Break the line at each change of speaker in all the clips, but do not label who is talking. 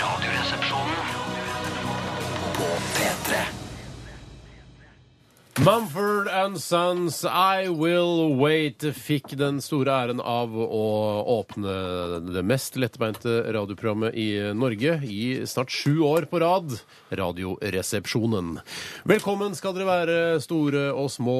Radioresepsjonen på P3.
Mumford and Sons, I Will Wait, fikk den store æren av å åpne det mest lettbeinte radioprogrammet i Norge i snart sju år på rad, Radioresepsjonen. Velkommen skal dere være, store og små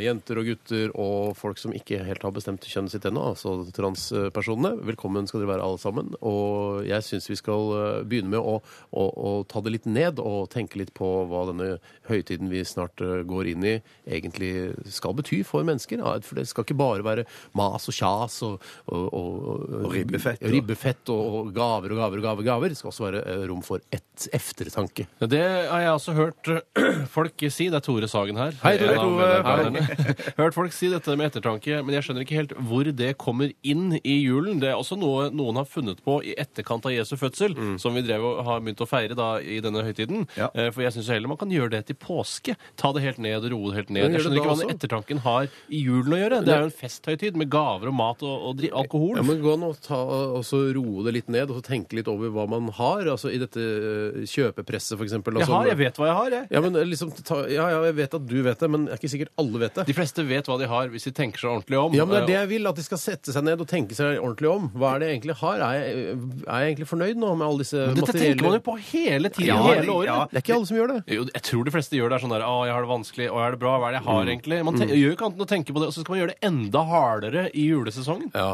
jenter og gutter og folk som ikke helt har bestemt kjønnet sitt ennå, altså transpersonene. Velkommen skal dere være alle sammen. Og jeg syns vi skal eh, begynne med å, å, å ta det litt ned og tenke litt på hva denne høytiden vi snart eh, går inn i, egentlig skal bety for mennesker. Ja, for det skal ikke bare være mas og kjas og, og, og, og
ribbefett, og-
ribbefett og, og gaver og gaver og gaver. gaver. Det skal også være eh, rom for et eftertanke.
Ja, Det har jeg også hørt øh, folk si. Det er Tore Sagen her.
Hei, Tore.
en av
Tore.
medarbeiderne. Hørt folk si dette med ettertanke, men jeg skjønner ikke helt hvor det kommer inn i julen. Det er også noe noen har funnet på i etterkant av Jesu fødsel,
Mm.
som vi drev og har begynt å feire da i denne høytiden.
Ja.
Eh, For jeg syns heller man kan gjøre det til påske. Ta det helt ned og roe det helt
Men gjør
ned. Jeg skjønner
det da
ikke hva den
også?
ettertanken har i julen å gjøre. Det er jo en festhøytid med gaver og mat og, og dri alkohol.
Ja, men gå an å ta, og så roe det litt ned og så tenke litt over hva man har. Altså I dette eh, kjøpepresset, for eksempel.
jeg
altså-
har, jeg vet hva jeg har, jeg.
Ja, men eh, liksom, ta, ja, ja, jeg vet at du vet det, men det er ikke sikkert alle vet
De
det.
fleste vet hva de har, hvis de tenker seg ordentlig om.
Ja, men det er det
Eh,
jeg vil, at de skal sette seg ned og tenke seg ordentlig om. Hva er det jeg egentlig har? Er jeg, er jeg egentlig fornøyd nå med alle disse
og Dette
materielle
tenker man jo på hele tiden,
Ja,
hele året.
ja.
Det er ikke alle som gjør det.
Jo, jeg tror de fleste gjør det er sånn der Å, jeg har det vanskelig. Å, er det bra? Hva er det jeg har,
Mm.
egentlig? Man te- gjør jo ikke annet enn å tenke på det, og så skal man gjøre det enda hardere i julesesongen.
Ja.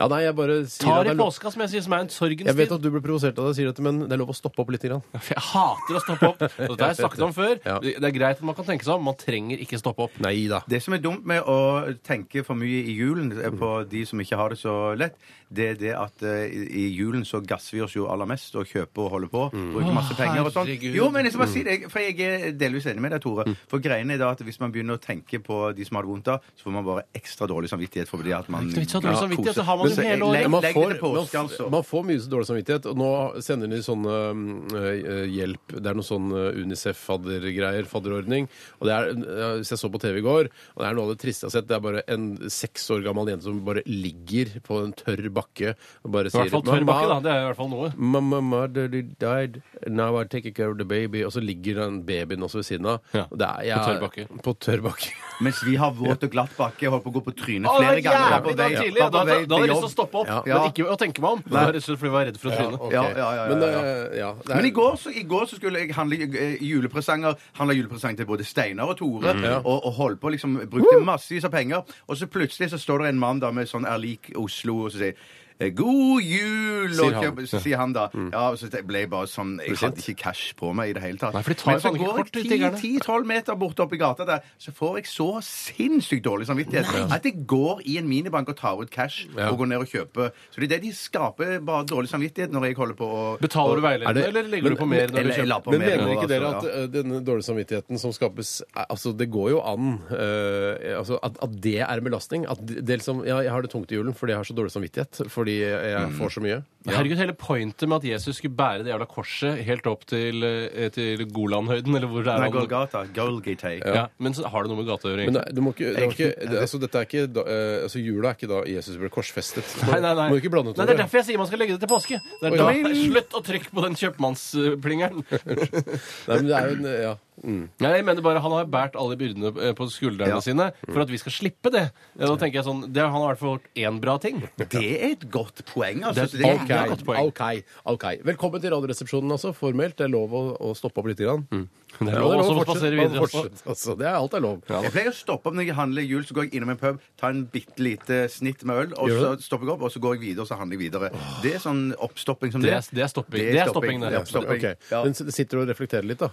ja, nei, jeg bare sier
Tar
det
i
er lov-
påska, som jeg sier, som er en sorgens
Jeg vet
tid.
at du ble provosert av det, jeg sier dette, men det er lov å stoppe opp litt. Grann.
Jeg hater å stoppe opp. Og dette har jeg snakket om før.
Ja.
Det det er greit at man kan tenke seg om, man trenger ikke stoppe opp.
Nei da.
Det som er dumt med å tenke for mye i julen eh, på de som ikke har det så lett, det er det at eh, i i julen så gasser vi oss jo aller mest og kjøper og holder på. Bruker masse penger og sånn.
Mm. herregud. Mm.
Jo, men jeg skal bare si det, jeg- for jeg er delvis enig med deg, Tore. For greiene er da at hvis man begynner å tenke på de som har det vondt da, så får man bare ekstra dårlig samvittighet fordi at man
Det er ikke så dårlig
Ja,
samvittighet,
koser.
så har man det
Men så
hele året.
legg-
man,
Legg
får,
det til
man,
påske,
f-
altså.
man får mye så dårlig samvittighet. Og nå sender de sånn øhm, øh, hjelp Det er noe sånn øh, Unicef-faddergreier, fadderordning. Og det er, øh, hvis jeg så på TV i går, og det er noe av det triste jeg har sett, det er bare en seks år gammel jente som bare ligger på en tørr bakke og bare
I
sier
hvert fall tørr bakke, da. Det er i hvert fall noe.
Mamma, mother died, now I take care of the baby. Og så ligger den babyen også ved siden av.
Ja,
Og det er, jeg,
på tørr bakke.
På tør bakke.
Mens vi har våt og glatt bakke, holdt på å gå på trynet
Å, det var
flere ganger. var på
jævlig da
vei-
tidlig. Da
var på
da- da
vei
hadde jeg
til
lyst til å
jobb.
stoppe opp,
Ja.
men ikke å tenke meg om. Det var rett og slett fordi jeg var redd for å tryne.
Ok.
Ja, ja, ja, ja,
Men,
ja.
øh, ja, det er-
Men i går, så, i går så skulle jeg handle eh, julepresanger Handla julepresang til både Steinar og Tore. og, og holdt på, liksom, brukte massevis av penger. Og så plutselig så står det en mann da med sånn Er lik Oslo, og så sier eh, God jul!
Sier
og
han.
kjøp- så sier han da. Ja, og så ble jeg bare sånn Jeg hadde ikke cash på meg i det hele tatt.
Nei, for de tar
Men så
faen ikke
går
kort, de
jeg
tiggerne.
10-12 meter borte opp i gata der, så får jeg så sinnssykt dårlig samvittighet at jeg går i en minibank og tar ut cash
Ja.
og går ned og kjøper. Så det er det de skaper, bare dårlig samvittighet når jeg holder på å
Betaler du
Er
veilederen,
det-
eller legger
men-
du på mer når du
eller-
kjøper?
la på
Men
mer
mener
nå,
ikke
altså,
dere at
ja.
ø, denne dårlige samvittigheten som skapes er- Altså, det går jo an ø, altså, at, at det er en belastning. At det, det liksom, ja, jeg har det tungt i julen fordi jeg har så dårlig samvittighet. Fordi jeg
Mm.
får så mye.
Herregud, hele pointet med at Jesus skulle bære det jævla korset helt opp til, eh, til Golanhøyden, eller hvor det er
Nei,
han-
Golgata. Golgate.
Ja, men så har det noe med gata å gjøre,
Men
egentlig.
det, du må ikke, det var ikke, det, altså, dette er ikke da, ø, altså, Jula er ikke da Jesus ble korsfestet. Du
Nei, nei, nei.
Må ikke blande ut
nei, det er derfor jeg sier man skal legge det til påske. Det er
Oi,
da,
ja.
Slutt å trykke på den kjøpmannsplingeren.
Nei, men det er jo en, ja.
Nei, jeg mener bare Han har båret alle byrdene eh, på skuldrene
Ja.
sine for at vi skal slippe det. Ja, Da tenker jeg sånn, det, Han har i hvert fall gjort én bra ting.
Det er et godt poeng, altså.
Det er
Så det er-
et
Ok,
jævla godt poeng.
ok, ok. Velkommen til Radioresepsjonen, altså. Formelt. Det er lov å, å stoppe opp litt. Grann.
Mm. Det er lov
Ja,
også å
fortsette-
spasere videre. også.
fortsette, altså. Det er alt er lov.
Jeg pleier å stoppe opp når jeg handler jul, så går jeg innom en pub, tar en bitte lite snitt med øl, og
Gjør du
så stopper jeg opp, og så går jeg videre, og så handler jeg videre. Det er sånn oppstopping som
Det
det.
er- det er stopping. Det er stopping, det.
det. er oppstopping.
Ok,
Ja.
Men s- sitter du og reflekterer litt, da?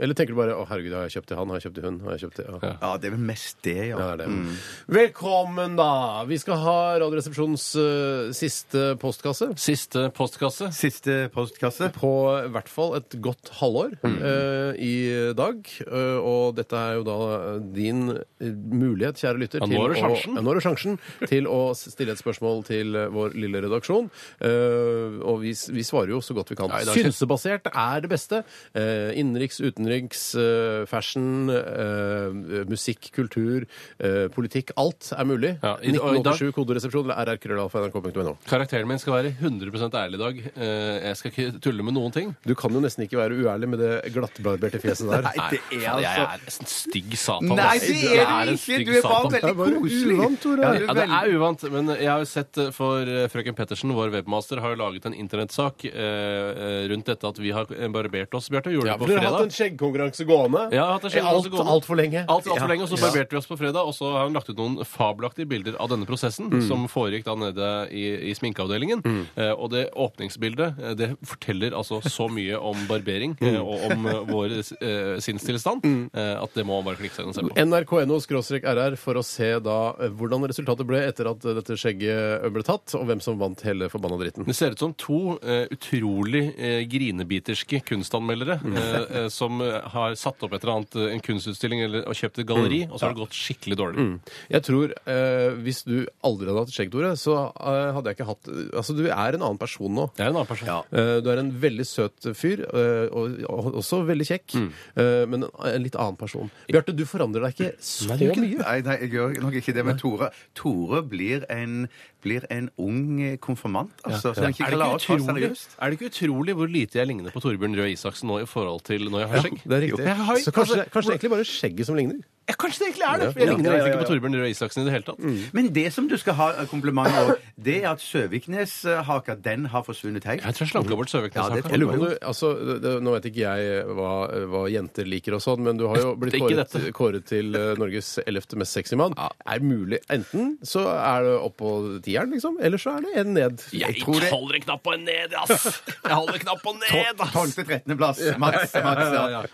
Eller tenker du bare 'Å, herregud, har jeg kjøpt til han? Har jeg kjøpt til hun?' Har jeg kjøpt til ja.
ja, det er vel mest det, ja.
Ja, det er det. Velkommen, da! Vi skal ha Radioresepsjonens eh, siste postkasse.
Siste postkasse.
Siste postkasse.
På i hvert fall et godt halvår
Mm.
eh, i dag. Eh, og dette er jo da eh, din eh, mulighet, kjære lytter,
Ja, nå
til
har du
å,
sjansen.
ja, nå har du sjansen til å s- stille et spørsmål til eh, vår lille redaksjon. Eh, og vi, s- vi svarer jo så godt vi kan.
Ja, i dag skal-
Synsebasert er det beste. Uh, innenriks, utenriks, eh, fashion, eh, musikk, kultur, eh, politikk. Alt er mulig.
Ja, i- og i dag-
1987 koderesepsjon eller rrkrøllalfa.nrk.no.
Karakteren min skal være 100 ærlig i dag. Eh, Jeg skal ikke tulle med noen ting.
Du kan jo nesten ikke være uærlig med det glattbarberte fjeset der.
Nei, det er
faen, Jeg
altså
er en stig satan.
Nei,
ass.
altså. det
Jeg
er du
en
ikke!
stygg
Du er bare
satan.
Det er
veldig
bare
koselig.
uvant, Tore.
Ja, du
Ja,
er
det
veldig-
er uvant, men jeg har jo sett eh, for eh, frøken Pettersen, vår webmaster, har jo laget en internettsak eh, eh, rundt dette at vi har eh, barbert oss, Bjarte. Gjorde
Ja,
det
for
på
dere har hatt en
fredag.
skjeggkonkurranse gående
Ja, jeg har hatt
I alt,
en skjeggkonkurranse gående.
alt for lenge.
Alt, alt for
Ja.
lenge, og Så barberte vi oss på fredag, og så har hun lagt ut noen fabelaktige bilder av denne prosessen som foregikk da nede i, i sminkeavdelingen. Eh, og det åpningsbildet eh, det forteller altså så mye om barbering eh, og om eh, vår eh, sinnstilstand eh, at det må man bare klikke seg inn og se på.
NRK.no rr for å se da eh, hvordan resultatet ble etter at eh, dette skjegget ble tatt, og hvem som vant hele forbanna dritten.
Det ser ut som to eh, utrolig eh, grinebiterske kunstanmeldere eh, eh, som eh, har satt opp et eller annet, eh, en kunstutstilling eller, og kjøpt et galleri, og så har det gått skikkelig dårlig.
Jeg tror eh, hvis du aldri hadde hatt skjegg, Tore, så eh, hadde jeg ikke hatt Altså, du er en annen person nå.
Det er en annen person.
Eh, du er en veldig søt fyr, eh, og, og også veldig kjekk,
Mm.
eh, men en, en litt annen person. Bjarte, du forandrer deg ikke så mye.
Nei, nei, jeg gjør nok ikke det, men Tore, Tore blir, en, blir en ung eh, konfirmant, altså. Som ikke
Er det,
klarer å
ikke
ta
utrolig,
seriøst.
er det ikke utrolig hvor lite jeg ligner på Torbjørn Røe Isaksen nå i forhold til når jeg har skjegg?
Det er riktig.
Jeg har-
Så kanskje,
altså,
kanskje det er egentlig bare skjegget som ligner.
Ja, kanskje det egentlig er det! for Jeg
Ja.
ligner
Ja, ja,
egentlig
ja,
ikke på
ja.
Torbjørn Røe Isaksen i det hele tatt.
Men det som du skal ha eh, kompliment over, det er at Søviknes-haka, den har forsvunnet helt.
Jeg tror jeg slanka bort
Ja, det
Søviknes.
tror
Jeg
her.
lurer på om du, altså, det- det, Nå vet ikke jeg eh, hva, hva jenter liker og sånn, men du har jo blitt
Ikke
kåret,
dette.
kåret til eh, Norges 11. mest sexy mann. Er mulig. Enten så er det oppå tieren, liksom, eller så er det en ned.
Jeg
tror det-
holder en knapp på en ned, ass! Jeg holder en knapp på en ned, ass!
12.-13. plass. Maks. maks ja.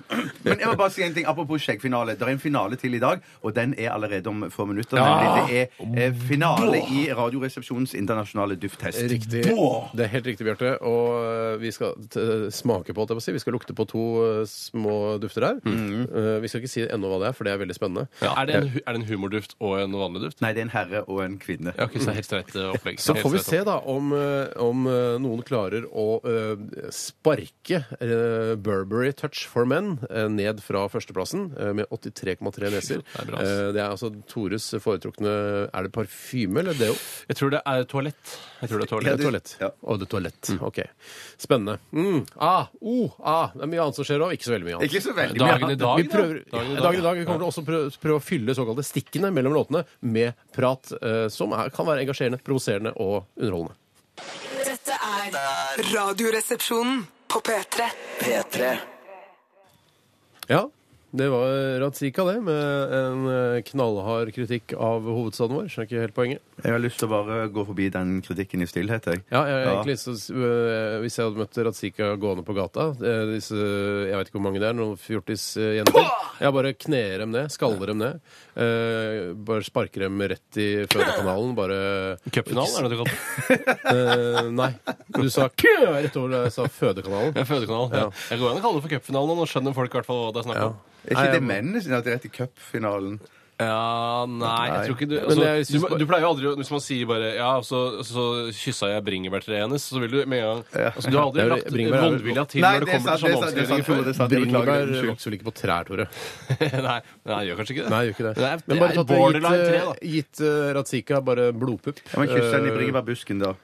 Men jeg må bare si en ting apropos skjeggfinale. Det er en finale til i dag, og den er allerede om få minutter. Nemlig det er eh, finale i Radioresepsjonens internasjonale dufttest.
Riktig. Det er helt riktig, Bjarte. Og eh, vi skal t smake på, holdt jeg på å si. Vi skal lukte på to eh, små dufter her. Eh, Vi skal ikke si ennå hva det er, for det er veldig spennende.
Ja, er, det en, hu- er det en humorduft og en vanlig duft?
Nei, det er en herre og en kvinne.
Ja, ok, så helt streit eh, opplegg.
Så
Helt
får vi
streit
se da om, eh, om eh, noen klarer å eh, sparke eh, Burberry Touch for Men eh, ned fra førsteplassen eh, med 83,3 neser.
Det er bra, ass.
Eh, Det er altså Tores foretrukne Er det parfyme eller deo?
opp. Jeg tror det er toalett. Jeg tror det er
Det
toalett.
er toalett.
ja.
Å, det er toalett. OK. Spennende. Mm. Ah, oh, ah. Det er mye annet som skjer òg. Ikke så veldig mye annet.
Ikke så veldig mye.
Dagen i dag,
Vi prøver,
da.
dagen, i dag, Vi kommer til å også prøve, prøve å fylle såkalte stikkene mellom låtene med prat eh, som er, kan være engasjerende, provoserende og underholdende.
Dette er Radioresepsjonen på P3.
P3.
Ja, det var Ratzika, det, med en eh, knallhard kritikk av hovedstaden vår. Skjønner ikke helt poenget.
Jeg har lyst til å bare gå forbi den kritikken i stillhet, jeg.
Ja, jeg,
Ja.
egentlig, så, eh, Hvis jeg hadde møtt Ratzika gående på gata eh, disse, Jeg vet ikke hvor mange det er, noen fjortisjenter Jeg bare kner dem ned, skaller dem ned. eh, bare sparker dem rett i fødekanalen. Bare
Cupfinalen, er det det du kaller det?
Eh, nei. Du sa kø rett over da jeg sa fødekanalen.
Ja, Fødekanal. Ja. Jeg går an å kalle det for cupfinalen, og nå skjønner folk i hvert fall hva det er snakk om.
Er ikke det mennene sine at det er rett i cupfinalen?
Ja, nei, jeg tror ikke du
Men
altså,
jeg
du,
synes
må- du pleier jo aldri å Hvis man sier bare Ja, så, så kyssa jeg bringebærtreet hennes, så vil du med en gang altså, Du har aldri
Ja,
lagt
bringebær er vel-
vondvilja til
Nei,
når det
det er
kommer
sant,
til
det er
sånne
sant, det er sant,
omskrivninger.
Tore. Det er sant. Jeg beklager.
Bringebær
Unnskyld.
vokser vel ikke på trær, Tore?
nei, nei, jeg gjør kanskje ikke det.
Nei, gjør ikke det.
Det er,
Men
det
sånn
bare
er
tatt og gitt,
borderline tre,
eh, gitt eh, Ratzika bare blodpupp.
Ja, men Kyss den i
Øh.
Eh,
bringebærbusken, da.
da.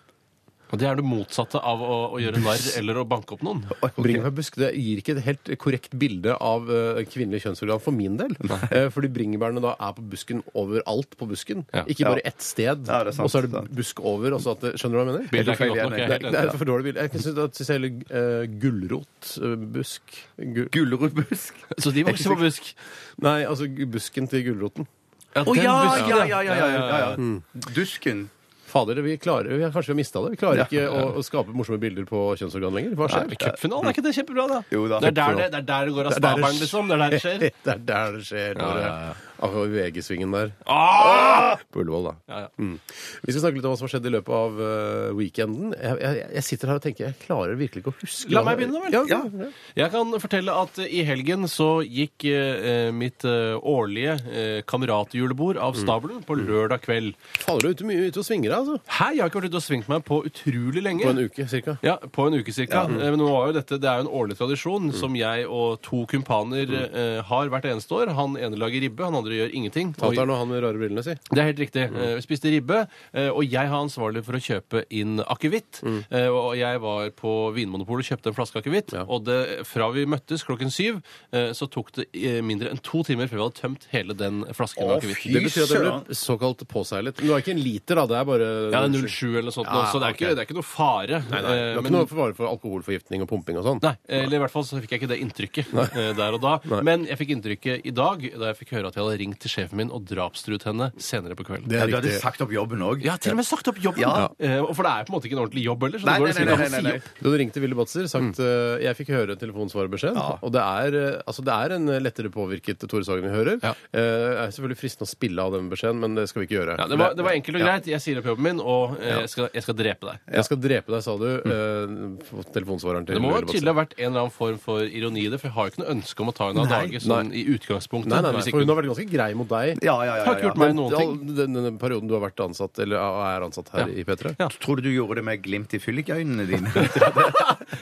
Og det er det motsatte av å, å gjøre narr eller å banke opp noen.
Eh, Bringebærbusk det gir ikke et helt korrekt bilde av eh, kvinnelig kjønnsorgan for min del. Eh, fordi bringebærene da er på busken overalt på busken.
Ja.
Ikke bare ett sted,
Ja, det er sant,
og så er det
sant.
busk over. Og så at det, skjønner du hva jeg mener?
Bildet er ikke godt nok.
Det
Jeg
er,
er helt
det er
enig.
et for dårlig bilde. Jeg syns jeg synes heller uh, gulrotbusk eh, Gu-
Gulrotbusk.
Så de vokser på busk.
Nei, altså gu- busken til gulroten.
Å
Å ja, ja, ja, ja, ja, ja,
Mm.
ja. Dusken.
Fader, vi klarer, vi har, kanskje vi har mista det. Vi klarer
Ja.
ikke Å, å skape morsomme bilder på kjønnsorgan lenger. Hva skjer?
Men Cupfinalen, er ikke det kjempebra, da?
Jo da.
Det er der det, det, er der det går av
Det er der det
stabelen, liksom. Det er der det skjer.
det er der det skjer.
Ja,
Tore.
ja, ja.
Akkurat i VG-svingen der.
Ah!
På Ullevål, da.
Ja, ja.
Mm. Vi skal snakke litt om hva som har skjedd i løpet av eh, weekenden. Jeg, jeg, jeg sitter her og tenker jeg klarer virkelig ikke å huske
La meg begynne, da vel?
Ja, ja.
Jeg kan fortelle at eh, i helgen så gikk eh, mitt
Mm.
eh, årlige eh, kameratjulebord av stabelen på lørdag kveld.
Faller du ute mye ute og svinger av? altså.
Hæ, jeg har ikke vært ute og svingt meg på utrolig lenge.
På en mm. uke, cirka.
Ja, på en uke cirka. Eh, Men nå var jo dette, det er jo en årlig tradisjon
Mm.
som jeg og to kumpaner eh, har hvert eneste år. Han ene lager ribbe, han andre gjør ingenting. Og-
Tateren og han med rare brillene si.
det er helt riktig.
Mm.
Eh, Vi spiste ribbe, eh, og jeg har ansvarlig for å kjøpe inn akevitt.
Mm.
Eh, Og jeg var på Vinmonopolet og kjøpte en flaske akevitt.
Ja.
Og det, fra vi møttes klokken syv, eh, så tok det eh, mindre enn to timer før vi hadde tømt hele den flasken med
Å,
akevitt.
fy
Det betyr at det
søren.
ble såkalt påseilet. Men Det var ikke en liter, da. Det er bare
Ja, det er 07 eller noe sånt, nå,
Ja,
så det er,
ok.
ikke, det er ikke noe fare.
Nei, nei. Det
Eh,
var
men-
ikke noe fare for alkoholforgiftning og pumping og sånn.
Nei, eller i hvert fall så fikk jeg ikke det inntrykket eh, der og da. Men jeg fikk inntrykket i dag da jeg fikk høre at jeg hadde ringt til sjefen min og drapstruet henne senere på kvelden.
Det
Ja,
er
du hadde
riktig.
sagt opp jobben òg.
Jeg har til og med sagt opp jobben!
Ja.
Eh, og For det er på en måte ikke en ordentlig jobb heller. Så
Nei,
det går
nei,
liksom ikke an
nei,
å
nei,
si
nei, nei.
opp.
Du hadde ringt til Willy Batzer sagt
Mm.
eh, jeg fikk høre telefonsvarebeskjed, og det er, eh, altså, det er en lettere påvirket Tore Sagen vi hører.
Ja.
Eh, det er selvfølgelig fristende å spille av den beskjeden, men det skal vi ikke gjøre.
Ja, det, var, det var enkelt
Ja.
og greit. Jeg sier opp jobben min, og eh, jeg, skal, jeg skal drepe deg.
Jeg skal drepe deg, sa du. eh, på telefonsvareren til
Mm. Det må
Willy
jo
Batzer.
tydelig ha vært en eller annen form for ironi i det, for jeg har jo ikke noe ønske om å ta henne av dage sånn i utgangspunktet.
Nei, nei, nei, for
hvis ikke-
hun har vært ganske grei mot deg.
Ja, ja, ja,
Har ikke
ja,
gjort
ja.
meg noen ting.
All den, den perioden du har vært ansatt, eller er ansatt her
Ja.
i P3.
Ja.
Tror du du gjorde det med glimt i fyllikøynene dine?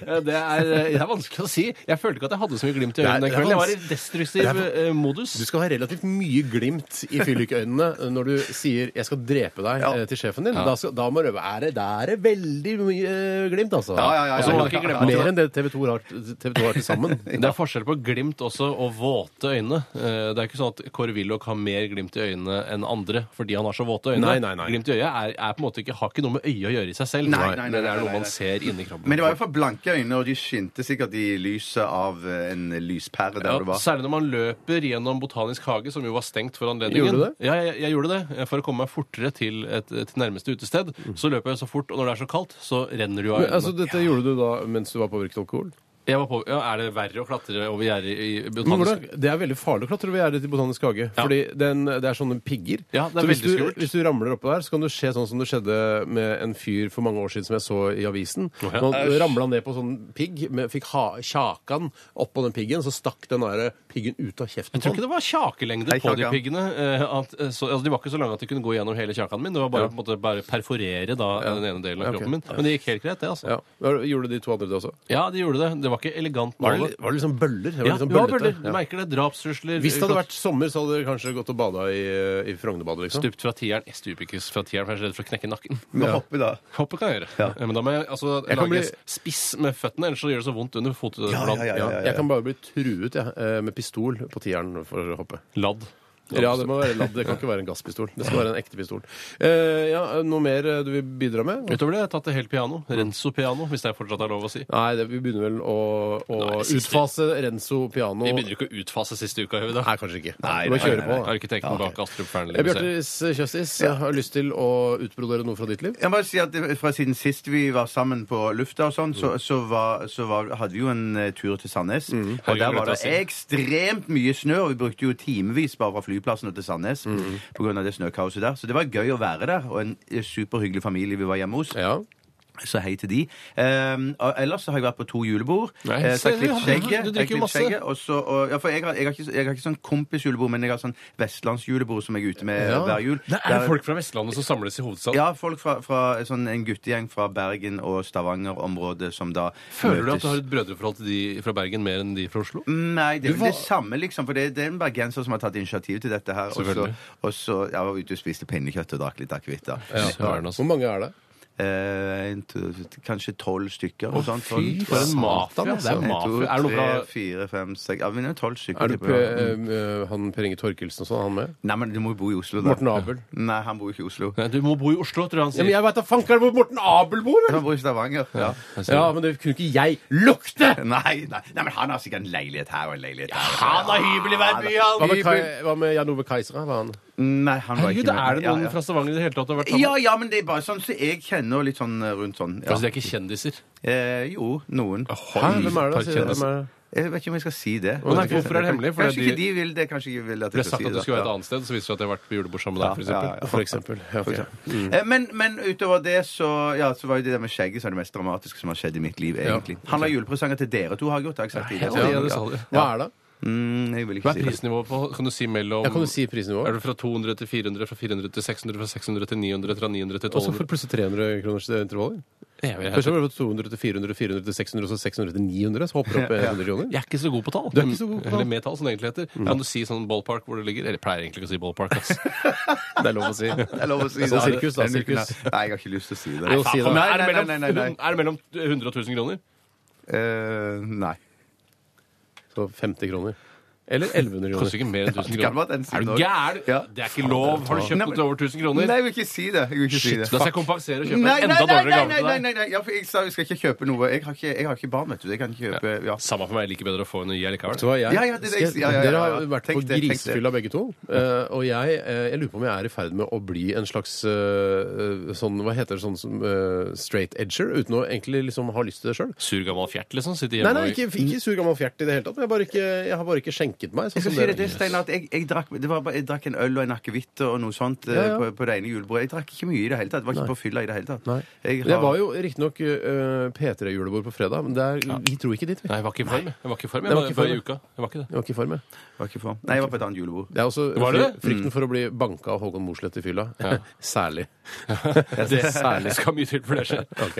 Eh, Det er, eh, det er vanskelig å si. Jeg følte ikke at jeg hadde så mye glimt i
Nei,
øynene den
det er
kvelden. Jeg var i
vans-
destruktiv eh, modus.
Du skal ha relativt mye glimt i fyllikøynene når du sier 'jeg skal drepe deg'
Ja.
eh, til sjefen din. Da, skal, da må det være Da er det veldig mye eh, glimt, altså.
Ja, ja, ja, ja.
Og så må du
Ja,
ikke
ja,
glemme
ja.
Mer enn det TV 2 har, TV 2 har til sammen.
Det er forskjell på glimt også og våte øyne. Eh, Det er ikke sånn at Kåre Willoch har mer glimt i øynene enn andre fordi han har så våte øyne.
Nei, nei, nei.
Glimt i øyet er, er på en måte ikke, har ikke noe med øyet å gjøre i seg selv.
Nei, nei, nei,
men det
nei,
er
nei,
noe man
nei.
ser inni kroppen.
Men det var i hvert fall blanke øyne, og de skinte sikkert i lyset av eh, en lyspære der
ja,
du var.
særlig når man løper gjennom Botanisk hage, som jo var stengt for anledningen.
Gjorde du det?
Ja, jeg, jeg gjorde det. For å komme meg fortere til, et, til nærmeste utested, så løper jeg så fort, og når det er så kaldt, så renner det jo av
Mm. Men,
øynene.
altså, dette gjorde du da mens du var påvirket av alkohol?
Jeg var på, ja, er det verre å klatre over gjerdet i i
Men
Botanisk
hvordan, det er veldig farlig å klatre over gjerdet til Botanisk hage. Fordi den, det er sånne pigger.
Ja, det er
så hvis
veldig
du,
skummelt.
hvis du ramler oppå der, så kan det skje sånn som det skjedde med en fyr for mange år siden som jeg så i avisen.
Å, ja.
Nå ramla han ned på sånn pigg, men fikk ha, kjakan oppå den piggen, så stakk den der eh, piggen ut av kjeften
Jeg tror ikke
på han.
det var kjakelengde
Nei,
på de
kjakan.
piggene. eh, At, eh, så, altså, de var ikke så lange at de kunne gå gjennom hele kjakan min. Det var bare, på en måte, bare perforere da, den ene delen av
Ja, ok.
kroppen min. Men det gikk helt greit, det. altså. Ja,
Ja. Hva- Gjorde de to andre det også?
de gjorde det. Det var ikke elegant.
Var det,
målet.
li- var det liksom bøller? Det var
ja,
liksom
det var
bøllete.
bøller. Du merker det. Drapstrusler.
Hvis det hadde
klart-
vært sommer, så hadde dere kanskje gått og bada i, i Frognerbadet, liksom.
Stupt fra tieren. Jeg stuper ikke fra tieren, for jeg er så redd for å knekke nakken.
Med hoppe, da.
Hoppet kan jeg gjøre. Eh, Men da må jeg altså,
kan
lage
bli-
en spiss med føttene, ellers så gjør det så vondt under fotbladet.
Ja, ja, ja, ja, ja.
Jeg kan bare bli truet jeg, eh, med pistol på tieren for å hoppe.
Ladd.
Eller Ja, det må være ladd. Det kan ikke være en gasspistol. Det skal være en ekte pistol. Eh, ja, Noe mer eh, du vil bidra med?
Utover det har jeg tatt det helt piano. Renzo piano, hvis det fortsatt er lov å si.
Nei, det, vi begynner vel å, å
Nei, det siste-
utfase Renzo piano.
Vi begynner ikke å utfase siste uka, gjør vi det?
Nei, kanskje ikke.
Nei,
du må
nei,
kjøre
nei, nei.
på. da.
Arkitekten bak Astrup
Eh,
Fearnley-museet.
Bjartis Kjøstis, jeg har lyst til å utbrodere noe fra ditt liv.
Jeg må bare si at det- Fra siden sist vi var sammen på lufta, og sånn,
Mm.
så, så, var, så var, hadde vi jo en eh, tur til Sandnes. Og
Herregud,
Der var det
glemte jeg
ekstremt mye snø, og vi brukte jo timevis bare fra flyplassen og til Sandnes
Mm.
på grunn av det snøkaoset der. Så det var gøy å være der, og en eh, superhyggelig familie vi var hjemme hos.
Ja.
Så hei til de. Um, og ellers så har jeg vært på to julebord.
Nei,
Eh, så jeg
ser du,
klippet
ja.
skjegget.
Du drikker
jeg
jo
klippet
masse.
skjegget, og så- og- ja, for jeg, har, jeg, har ikke, jeg har ikke sånn kompisjulebord, men jeg har sånn vestlandsjulebord som jeg er ute med
Ja.
hver jul.
Det er folk fra Vestlandet som samles i hovedstaden.
Ja, folk fra, fra sånn en guttegjeng fra Bergen og Stavanger-området som da
Føler du at
møtes.
du har et brødreforhold til de fra Bergen mer enn de fra Oslo?
Nei, det er
Du
vel det
var-
samme, liksom. For det, det er en bergenser som har tatt initiativ til dette her. og så-
Selvfølgelig.
Og så jeg var ute og spiste pinnekjøtt og drakk litt akevitt. da.
Søren, altså.
Hvor mange er det?
Eh, en, to, kanskje tolv stykker. og sånt.
fy, for en
Ja.
mafia, det er
En, to,
mafia. Er det noe
tre,
fra
fire, fem, seks Ja, men det er tolv stykker.
Er det P
tipper jeg. Mm.
eh, han Per Inge Torkelsen og sånn, er han med?
Nei, men du må jo bo i Oslo, da.
Morten Abel?
Nei, han bor ikke i Oslo.
Nei, du må bo i Oslo, tror jeg han
Ja,
sier.
men jeg veit da fanker hvor Morten Abel bor! vel?
Han bor i Stavanger. Ja.
Ja, men det kunne ikke jeg lukte!
Nei, nei, nei, men han har sikkert en leilighet her og en leilighet her.
Han har hybel i hver by,
Hva
han!
med, Kai, hva med Jan Ove Keisera? Var han?
Nei, han var
Herregud,
ikke med.
er det noen
ja, ja.
fra Stavanger i det hele tatt som har vært sammen?
Ja, ja, men det er bare sånn som jeg kjenner, og litt sånn eh, rundt sånn. Ja.
Altså, det er ikke kjendiser.
Eh, jo, noen.
Hæ? Hvem er det?
par
sier du?
kjendiser.
Hvem er det?
Jeg vet ikke om jeg skal si det.
Å, nei, hvorfor er det hemmelig? Fordi
Kanskje
de-
ikke de vil det. Kanskje ikke vil at
Det
jeg
ble
skal
sagt
si
at du
det.
skulle være et
Ja.
annet sted, så viser det at jeg har vært på julebord sammen med deg, for
Ja,
eksempel.
ja, ja.
For eksempel. Ja, ok.
Mm.
Eh, Men, men utover det så Ja, så var jo det der med skjegget så er det mest dramatiske som har skjedd i mitt liv, egentlig. Handla julepresanger til dere to, har jeg gjort. Har jeg sagt
Ja,
tidligere.
det sa du.
Hva er det?
Mm, jeg vil ikke
Hva
si
er
det.
prisnivået på Kan du si mellom
Jeg kan jo si
Er
prisnivået.
det fra 200 til 400, fra 400 til 600, fra 600 til 900, fra 900 til
Og så får
1200?
du plutselig 300 kroners intervaller.
Jeg, vet
Først
ikke.
var det 200 til 400, 400 til 600, og så 600 til 900. Så hopper det opp eh, 100 kroner.
jeg er ikke så god på tall.
Du er ikke så god på tall.
Eller med tall, som det egentlig heter.
Mm.
Kan du si sånn ballpark hvor det ligger? Eller jeg pleier egentlig ikke å si ballpark. ass.
Det er lov å si.
Det er lov å si
Sånn
det.
sirkus, da,
Den uken
sirkus.
her. Nei, jeg har ikke lyst til å si det.
Jo, si det.
Faen,
Nei,
Er det
nei,
mellom
nei, nei, nei.
er det mellom 100 og 1000 kroner?
Eh, nei.
Så 50 kroner. Eller 1100 kroner.
Koster ikke mer enn 1000
det kan
kroner.
være den
Er
siden
du
også.
gæren?
Ja.
Det er ikke lov. Har du
Nei,
kjøpt noe
men-
til over 1000
Nei,
kroner?
jeg vil ikke si det. Jeg vil ikke si
Shit, da
det.
skal jeg kompensere og kjøpe
Nei,
en enda
nei, nei,
dårligere gave
nei, nei, nei,
til deg.
nei, nei. Ja, for jeg sa vi skal ikke kjøpe noe. Jeg har ikke, jeg har ikke barn, vet du. Jeg kan ikke kjøpe ja.
Samme for meg, jeg liker bedre å få enn å gi
Så
likevel.
var jeg,
Ja, ja, det er det jeg
Skal-
sier. Ja, ja, ja,
Dere
ja.
har vært på
Tenk det, tenk det.
grisefylla begge to. eh, og jeg, eh, jeg lurer på om jeg er i ferd med å bli en slags eh, sånn, hva heter det, sånn som eh, straight edger, uten å egentlig liksom ha lyst til det sjøl.
Sur gammel fjert, liksom.
Nei,
Sitter hjemme
nei,
og
ikke, ikke sur gammel fjert i det hele tatt. men Jeg, har bare ikke, jeg har bare ikke skjenket meg. Sånn
Jeg skal
som
si
dere.
det, det, Steinar, at jeg, jeg, drakk, det var bare, jeg drakk en øl og en akevitt og noe sånt eh,
Ja, ja.
På, på det ene julebordet. Jeg drakk ikke mye i det hele tatt. Var ikke på fylla i det hele tatt.
Nei.
Jeg
Det
har-
var jo riktignok uh, P3-julebord på fredag, men det er, vi dro ikke dit. vi.
Nei, jeg var ikke i form. jeg. Jeg var ikke i form,
Nei,
jeg
var ikke i
var bare i
form.
uka. Jeg var ikke det.
Jeg var ikke i form, jeg.
var ikke for. Nei, jeg var på et annet julebord.
Det er også
Var det det?
Mm.
frykten for å bli banka av Håkon Mosleth i fylla. Særlig.
Det særlig skal mye til for det skjer.
Ok.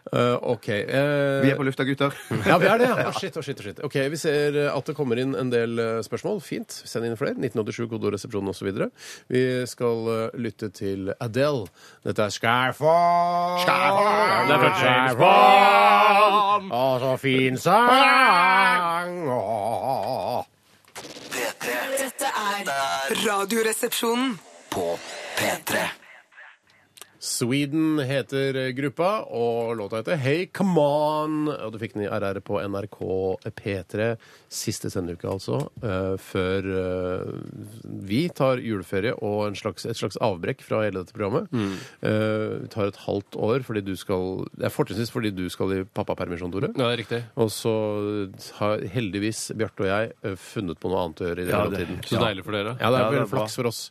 Eh, ok. eh,
Vi er på lufta, gutter.
Ja, vi er det. ja. Å, shit, å, shit, å, shit. Ok, Vi ser eh, at det kommer inn en del eh, spørsmål. Fint. Send inn flere. 1987, kodoresepsjonen osv. Vi skal eh, lytte til Adele. Dette er Scarfall.
Det er fra James
Scarfall. Å, så fin sang. Å.
P3
Dette er Radioresepsjonen.
på P3
Sweden heter eh, gruppa, og låta heter Hey Come On. Og du fikk den i RR på NRK P3 siste sendeuke, altså. eh, før eh, vi tar juleferie og en slags, et slags avbrekk fra hele dette programmet. Eh, vi tar et halvt år fordi du skal Det er fortrinnsvis fordi du skal i pappapermisjon, Tore.
Ja, det er riktig.
Og så har heldigvis Bjarte og jeg eh, funnet på noe annet å gjøre i
Ja, det-
mellomtiden.
Så deilig for dere.
Ja, det er
Ja,
veldig
det er bra.
flaks for oss.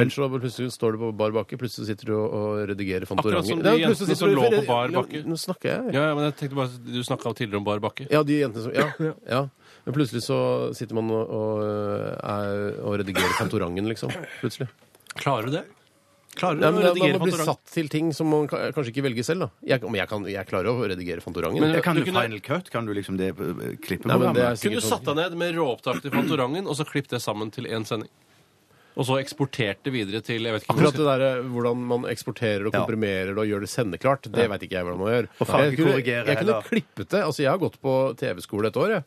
Men så plutselig står du på bar bakke, plutselig sitter du og, og redigerer Fantorangen.
Akkurat som de
Nei,
jentene
plutselig sitter
som
du-
lå på bar bakke.
Nå, nå snakker jeg. Ja.
Ja, ja, men jeg tenkte bare, Du snakka tidligere om bar bakke.
de jentene som Ja. ja. Men plutselig så sitter man og, og, eh, er, og redigerer Fantorangen, liksom. Plutselig.
Klarer du det? Klarer du
Nei, men
å
da,
redigere
man blir
Fantorangen?
satt til ting som man ka- kanskje ikke velger selv, da. Jeg, men jeg, kan, jeg klarer å redigere Fantorangen.
Men-
Jeg kan
Du
du
kunne-
Final Cut? Kan du liksom det eh, klippe
Nei, men det er
Kunne
programmet?
sikkert
du satt
sånn.
deg ned med råopptak til Fantorangen, og så klippet det sammen til én sending? Og så eksportert det videre til jeg vet ikke
Akkurat det der, eh, Hvordan man eksporterer og komprimerer det og gjør det sendeklart, det veit ikke jeg hvordan man gjør. jeg kunne, jeg
fargekorrigere
kunne
heller.
klippet det. Altså, jeg har gått på TV-skole et år. Jeg,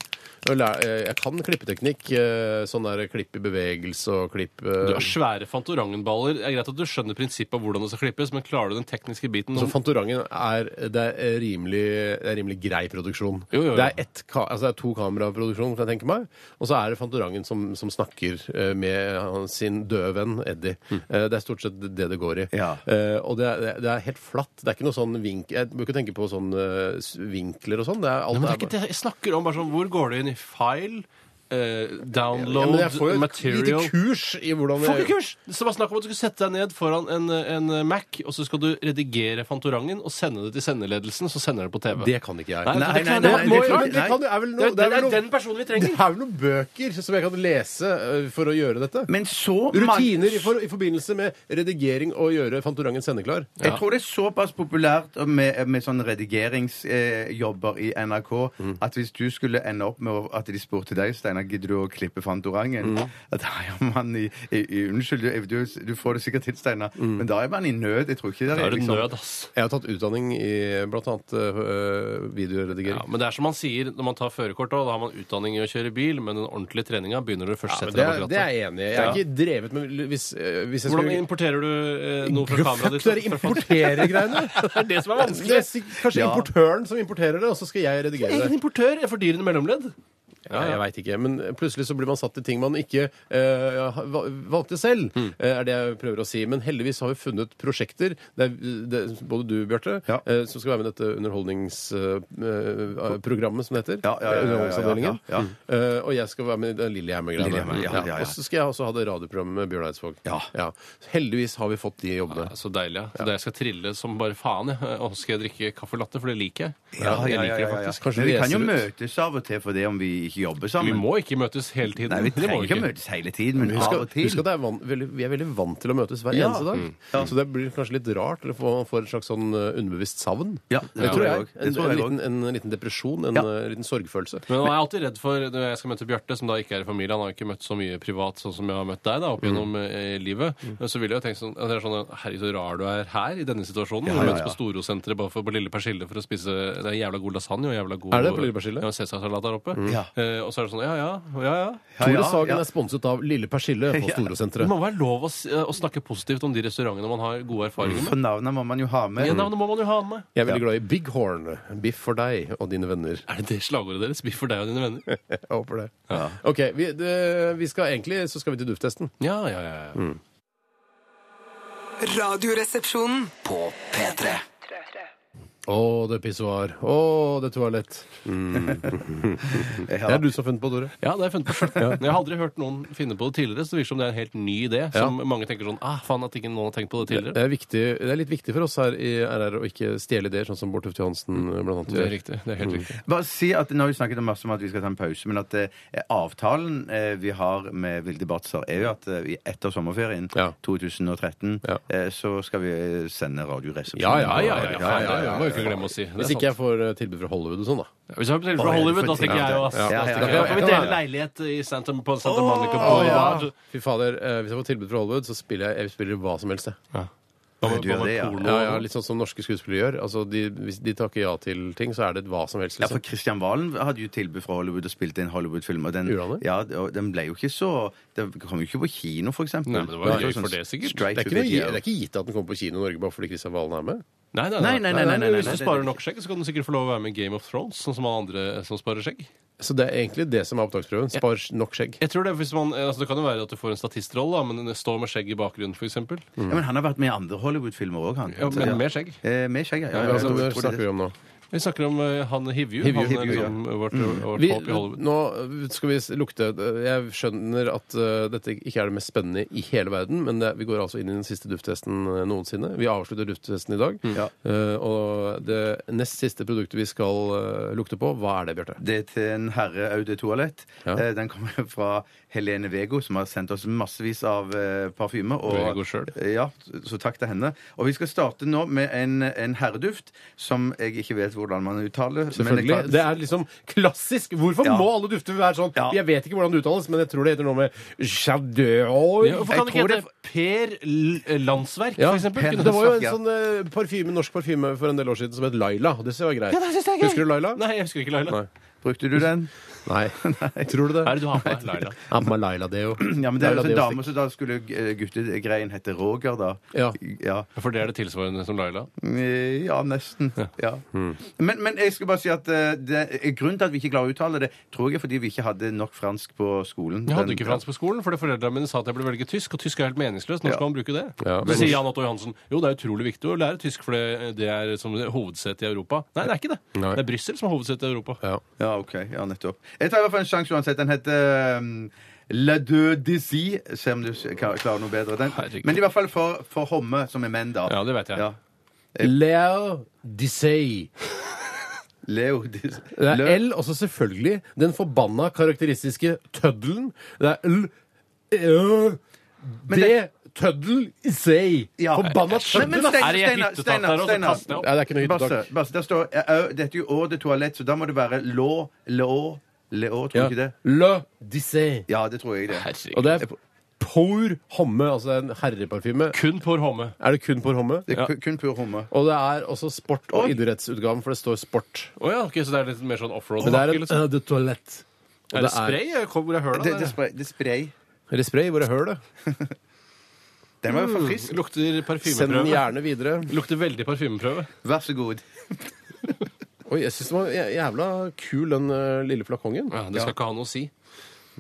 og lær, eh, jeg kan klippeteknikk. eh, Sånn der klipp i bevegelse og klipp eh,
Du har svære Fantorangen-baller. Det er greit at du skjønner prinsippet om hvordan det skal klippes, men klarer du den tekniske biten?
Så Altså, Fantorangen er, det er, rimelig, det er rimelig grei produksjon.
Jo, jo, jo.
Det, er ett ka, altså det er to kameraproduksjon, kan jeg tenke meg. Og så er det Fantorangen som, som snakker eh, med han- sin døde venn Eddie.
Mm.
Eh, Det er stort sett det det går i.
Ja.
Eh, Og det er, det er- det er helt flatt. Det er ikke noe sånn vink... Jeg bør ikke tenke på sånn eh, s- vinkler og sånn. Det er alt
Nei, men det er
bare-
ikke det jeg snakker om. Bare sånn, hvor går du inn i file? eh,
Ja,
download
men jeg får jo et lite
material
kurs i hvordan
Får ikke kurs! Det var snakk om at du skulle sette deg ned foran en, en Mac, og så skal du redigere Fantorangen og sende det til sendeledelsen, så sender det på TV.
Det kan ikke jeg.
Nei,
Nei, nei,
det,
nei,
må
det
jo-
tror
Men
jeg
det, kan, jo- er vel
det,
noe,
er-
det, er
det
vel
er
noe,
den personen vi
det
trenger.
er vel noen bøker som jeg kan lese eh, for å gjøre dette.
Men så mange-
Rutiner i, for, i forbindelse med redigering og gjøre Fantorangen sendeklar.
Jeg tror det er såpass populært med, med sånne redigeringsjobber eh, jobber i NRK
Mm.
at hvis du skulle ende opp med å- at de spurte deg, Steinar, gidder du å klippe Fantorangen?
Mm.
At, ja, man, i, i, i, unnskyld, du, du, du får det sikkert til, Steinar, men da er man i nød. Jeg tror ikke det
Mm. Da
er,
er det
liksom-
nød, ass.
Jeg har tatt utdanning i bl.a. Uh, videoredigering.
Ja, men det er som man sier når man tar førerkort, da, da har man utdanning i å kjøre bil, men den ordentlige treninga begynner når du først setter
det,
deg
er,
bak
det er
rattet.
jeg enig i. Jeg er ikke drevet med Hvis, eh, hvis jeg
Hvordan
skulle
importerer du eh, noe fra kameraet ditt?
Fuck dere importerer-greiene!
Det er det som er
Det
vanskelig.
er sikk- Kanskje importøren som importerer det, og så skal jeg redigere det.
Egen importør er fordyrende mellomledd.
Nei, jeg veit ikke. Men plutselig så blir man satt til ting man ikke eh, ha- va- valgte selv,
Mm.
eh, er det jeg prøver å si. Men heldigvis har vi funnet prosjekter, det er, det, er både du, Bjarte,
Ja.
eh, som skal være med i dette underholdningsprogrammet, som det heter.
Ja, ja, ja, ja, ja,
Underholdningsavdelingen.
ja, ja.
Eh, og jeg skal være med i den Lillehammer-greiene.
Lillehammer, ja, ja, ja.
Og så skal jeg også ha det radioprogrammet med Bjørn Eidsvåg.
Ja.
Heldigvis har vi fått de jobbene.
Så deilig. ja. Så det jeg skal trille som bare faen. jeg. Og så skal jeg drikke caffè latte, for det liker jeg.
Ja, ja, ja,
Jeg liker det
ja, ja.
faktisk.
Kanskje
Men vi
vi
kan jo
reiser ut.
møtes av og til for det om vi ikke jobber
Vi
sammen.
må ikke møtes hele tiden.
Nei, vi
Det må
trenger ikke å møtes hele tiden, men
Husk
av og
at, husk
til.
at det er van, veldig, vi er veldig vant til å møtes hver
Ja. Mm.
eneste dag. Så det blir kanskje litt rart, eller får, får et slags sånn eh, underbevisst savn.
Ja,
det tror jeg.
også.
En,
Det tror
en,
jeg
liten, en liten depresjon, en
Ja.
eh, liten sorgfølelse.
Men nå er jeg alltid redd for når jeg skal møte Bjarte, som da ikke er i familie. Han har ikke møtt så mye privat sånn som jeg har møtt deg da, opp gjennom eh, livet. Så ville jeg jo tenkt sånn, at det er sånn Herregud, så rar du er her i denne situasjonen.
Ja,
Du
ja,
møtes
ja.
på Storosenteret bare for på Lille Persille for å spise det er jævla god lasagne og jævla god
Er det på Lille Persille?
Ja, Cæsarsalat der oppe.
Ja.
Eh, og så er det sånn Ja, ja. ja, ja.
Ja,
Tore
ja,
Sagen
ja.
er sponset av Lille Persille på
Det
Storosenteret.
må være lov å, s- eh, å snakke positivt om de restaurantene man har gode erfaringer med.
For navnet må man jo ha med.
Ja, navnet må man jo ha med.
Jeg er veldig glad i Big Horn. Biff for deg og dine venner.
Er det det slagordet deres? Biff for deg og dine venner?
Jeg håper det. Ok, vi, det, vi skal egentlig så skal vi til dufttesten.
Ja, ja, ja. ja.
Radioresepsjonen.
På P3.
Å, det pissoar. Å, det toalett. Det
Ja.
er du som har funnet på, Tore.
Ja, det har jeg funnet på selv. Men Jeg har aldri hørt noen finne på det tidligere, så det virker som det er en helt ny idé. Som mange tenker sånn Ah, faen at ikke noen har tenkt på det
Det
tidligere.
er, viktig, det er litt viktig for oss her i RR å ikke stjele ideer, sånn som Bård Tufte Johansen eh, blant annet
Det er
gjør.
riktig. Det er helt riktig.
Bare si at Nå har vi snakket masse om at vi skal ta en pause, men at eh, avtalen eh, vi har med Vilde Batzer, er jo at eh, vi etter sommerferien
Ja.
2013
Ja.
eh, så skal vi sende Radioresepsjonen.
Ja, ja,
Ja, ja, ja. faen,
ja, ja,
Det
ja.
må jeg ikke glemme å si. Det er
Hvis ikke jeg får eh, tilbud fra Hollywood og sånn, da.
sant. Hvis jeg blir fra Hollywood, da stikker jeg jo, ass.
Ja, ja,
Da
ja.
stikker jeg. Da får vi
Ja, ja, ja.
dele leilighet i Santa, på Santa Monica Boulevard.
Fy fader, eh, Hvis jeg får tilbud fra Hollywood, så spiller jeg, jeg spiller hva som helst. jeg.
Da må-
Du gjør
da må
det, ja.
porno-
Ja, ja, litt sånn som norske skuespillere gjør. Altså, de, Hvis de takker ja til ting, så er det hva som helst.
Ja, for
Liksom.
Christian Valen hadde jo tilbud fra Hollywood og spilte inn Hollywood-film. Og den,
Gjorde han det?
ja, og den ble jo ikke så Den kom jo ikke på kino, for eksempel.
Nei, men det var jo
jo
gøy for det, sikkert.
straight
Det er,
to
ikke noe,
video.
det er ikke gitt at den kommer på kino i Norge bare fordi Kristian Valen er med.
Nei, nei,
Nei, nei, nei, nei, nei, nei,
Hvis du
nei,
sparer
det-
nok skjegg, så kan du sikkert få lov å være med i Game of Thrones, sånn som alle andre som sparer skjegg.
Så det er egentlig det som er opptaksprøven. Spar nok skjegg.
Jeg tror Det hvis man, altså det kan jo være at du får en statistrolle, da, men stå med skjegg i bakgrunnen, f.eks.
Ja, men han har vært med i andre Hollywood-filmer òg, han.
Ja, men med skjegg.
Eh, med skjegg, ja. ja,
Hva
ja, ja, jeg tror
snakker
det.
vi om altså, nå?
Vi snakker om eh, han Hivju.
Hivju,
han er
Hivju, ja.
liksom vårt, vårt
Vi,
håp i Hollywood.
nå skal vi s- lukte Jeg skjønner at eh, dette ikke er det mest spennende i hele verden, men det, vi går altså inn i den siste dufttesten eh, noensinne. Vi avslutter dufttesten i dag.
Ja.
Eh, og det nest siste produktet vi skal eh, lukte på, hva er det, Bjarte?
Det er til en herre Aude Toalett.
Ja.
Eh, Den kommer fra Helene Vego, som har sendt oss massevis av eh, parfyme. og-
Vego selv.
Eh, Ja, så takk til henne. Og vi skal starte nå med en, en herreduft som jeg ikke vet hvordan man uttaler. men jeg
Selvfølgelig.
kan-
Det er liksom klassisk. Hvorfor
Ja.
må alle dufter være sånn?
Ja.
Jeg vet ikke hvordan det uttales, men jeg tror det heter noe med Chardeur.
Ja, Hvorfor kan det ikke hete Per L- Landsverk,
Ja,
for eksempel?
Per
Kunne
det var jo en
Ja.
sånn eh, parfyme, norsk parfyme for en del år siden som het Laila. og Det synes jeg var greit. Husker du Laila?
det- Nei, jeg husker ikke Laila.
Nei.
Brukte du den?
Nei. Tror du det?
Hva er det du har på deg, Laila?
Ja, men Laila Deo.
Ja, men det er
Laila
jo en
Deo
dame, så da skulle eh, guttegreien hete Roger, da.
Ja.
ja.
For det er det tilsvarende som Laila?
Eh, Ja, nesten. Ja. Men, men jeg skal bare si at eh, det, grunnen til at vi ikke klarer å uttale det, tror jeg er fordi vi ikke hadde nok fransk på skolen.
Jeg hadde
Den-
ikke fransk på skolen, fordi foreldrene mine sa at jeg burde velge tysk, og tysk er helt meningsløst. Når
Ja.
skal man bruke det?
Ja,
så
men-
sier Jan Otto Johansen jo, det er utrolig viktig å lære tysk, for det det er som hovedsete i Europa. Nei, det er ikke det.
Nei.
Det er Brussel som er hovedsetet i Europa.
Ja.
Ja, ok. Ja, nettopp. Jeg tar i hvert fall en sjanse uansett. Den heter um, La Deux Dizzy. Se om du s- klar- klarer noe bedre. Den.
Herregud.
Men i hvert fall for, for Homme, som er menn, da.
Ja, det vet jeg.
Ja.
Leo Dissey.
Leo Dizzy.
Det er L, og så selvfølgelig den forbanna karakteristiske tøddelen. Det er L Ø D Tøddel Issey.
Ja.
Forbanna
Men, men
tøddel! ass.
Steinar,
Er det i et hyttetak
Steinar,
der
Steinar,
også?
Steinar.
Kast det opp.
Ja, det er ikke noe
Basse,
hyttetak.
Basse, der står eh, au, Dette er jo Å de toalett, så da må det være Lå, Lå, Lå, tror du
Ja.
ikke det?
Le Dissey.
Ja, det tror jeg det.
Og
Herregud.
det er Pour Homme, altså en herreparfyme.
Kun Por Homme.
Er det kun Pour Homme?
Det er ku- kun pur homme.
Og det er også sport og idrettsutgaven, for det står sport.
Å ja, ok, så det er litt mer sånn offroad?
Men det er en
liksom.
Eau de toilette. Og
Er det spray? Jeg kom hvor jeg hører
Det, det,
det.
spray, det spray.
Er det spray? Hvor er hølet?
Den var i hvert fall frisk.
Lukter
Send den
parfymeprøve.
gjerne videre.
Lukter veldig parfymeprøve.
Vær så god.
Oi, jeg syns den var jæ- jævla kul, den ø, lille flakongen.
Ja, det skal ikke ha noe å si.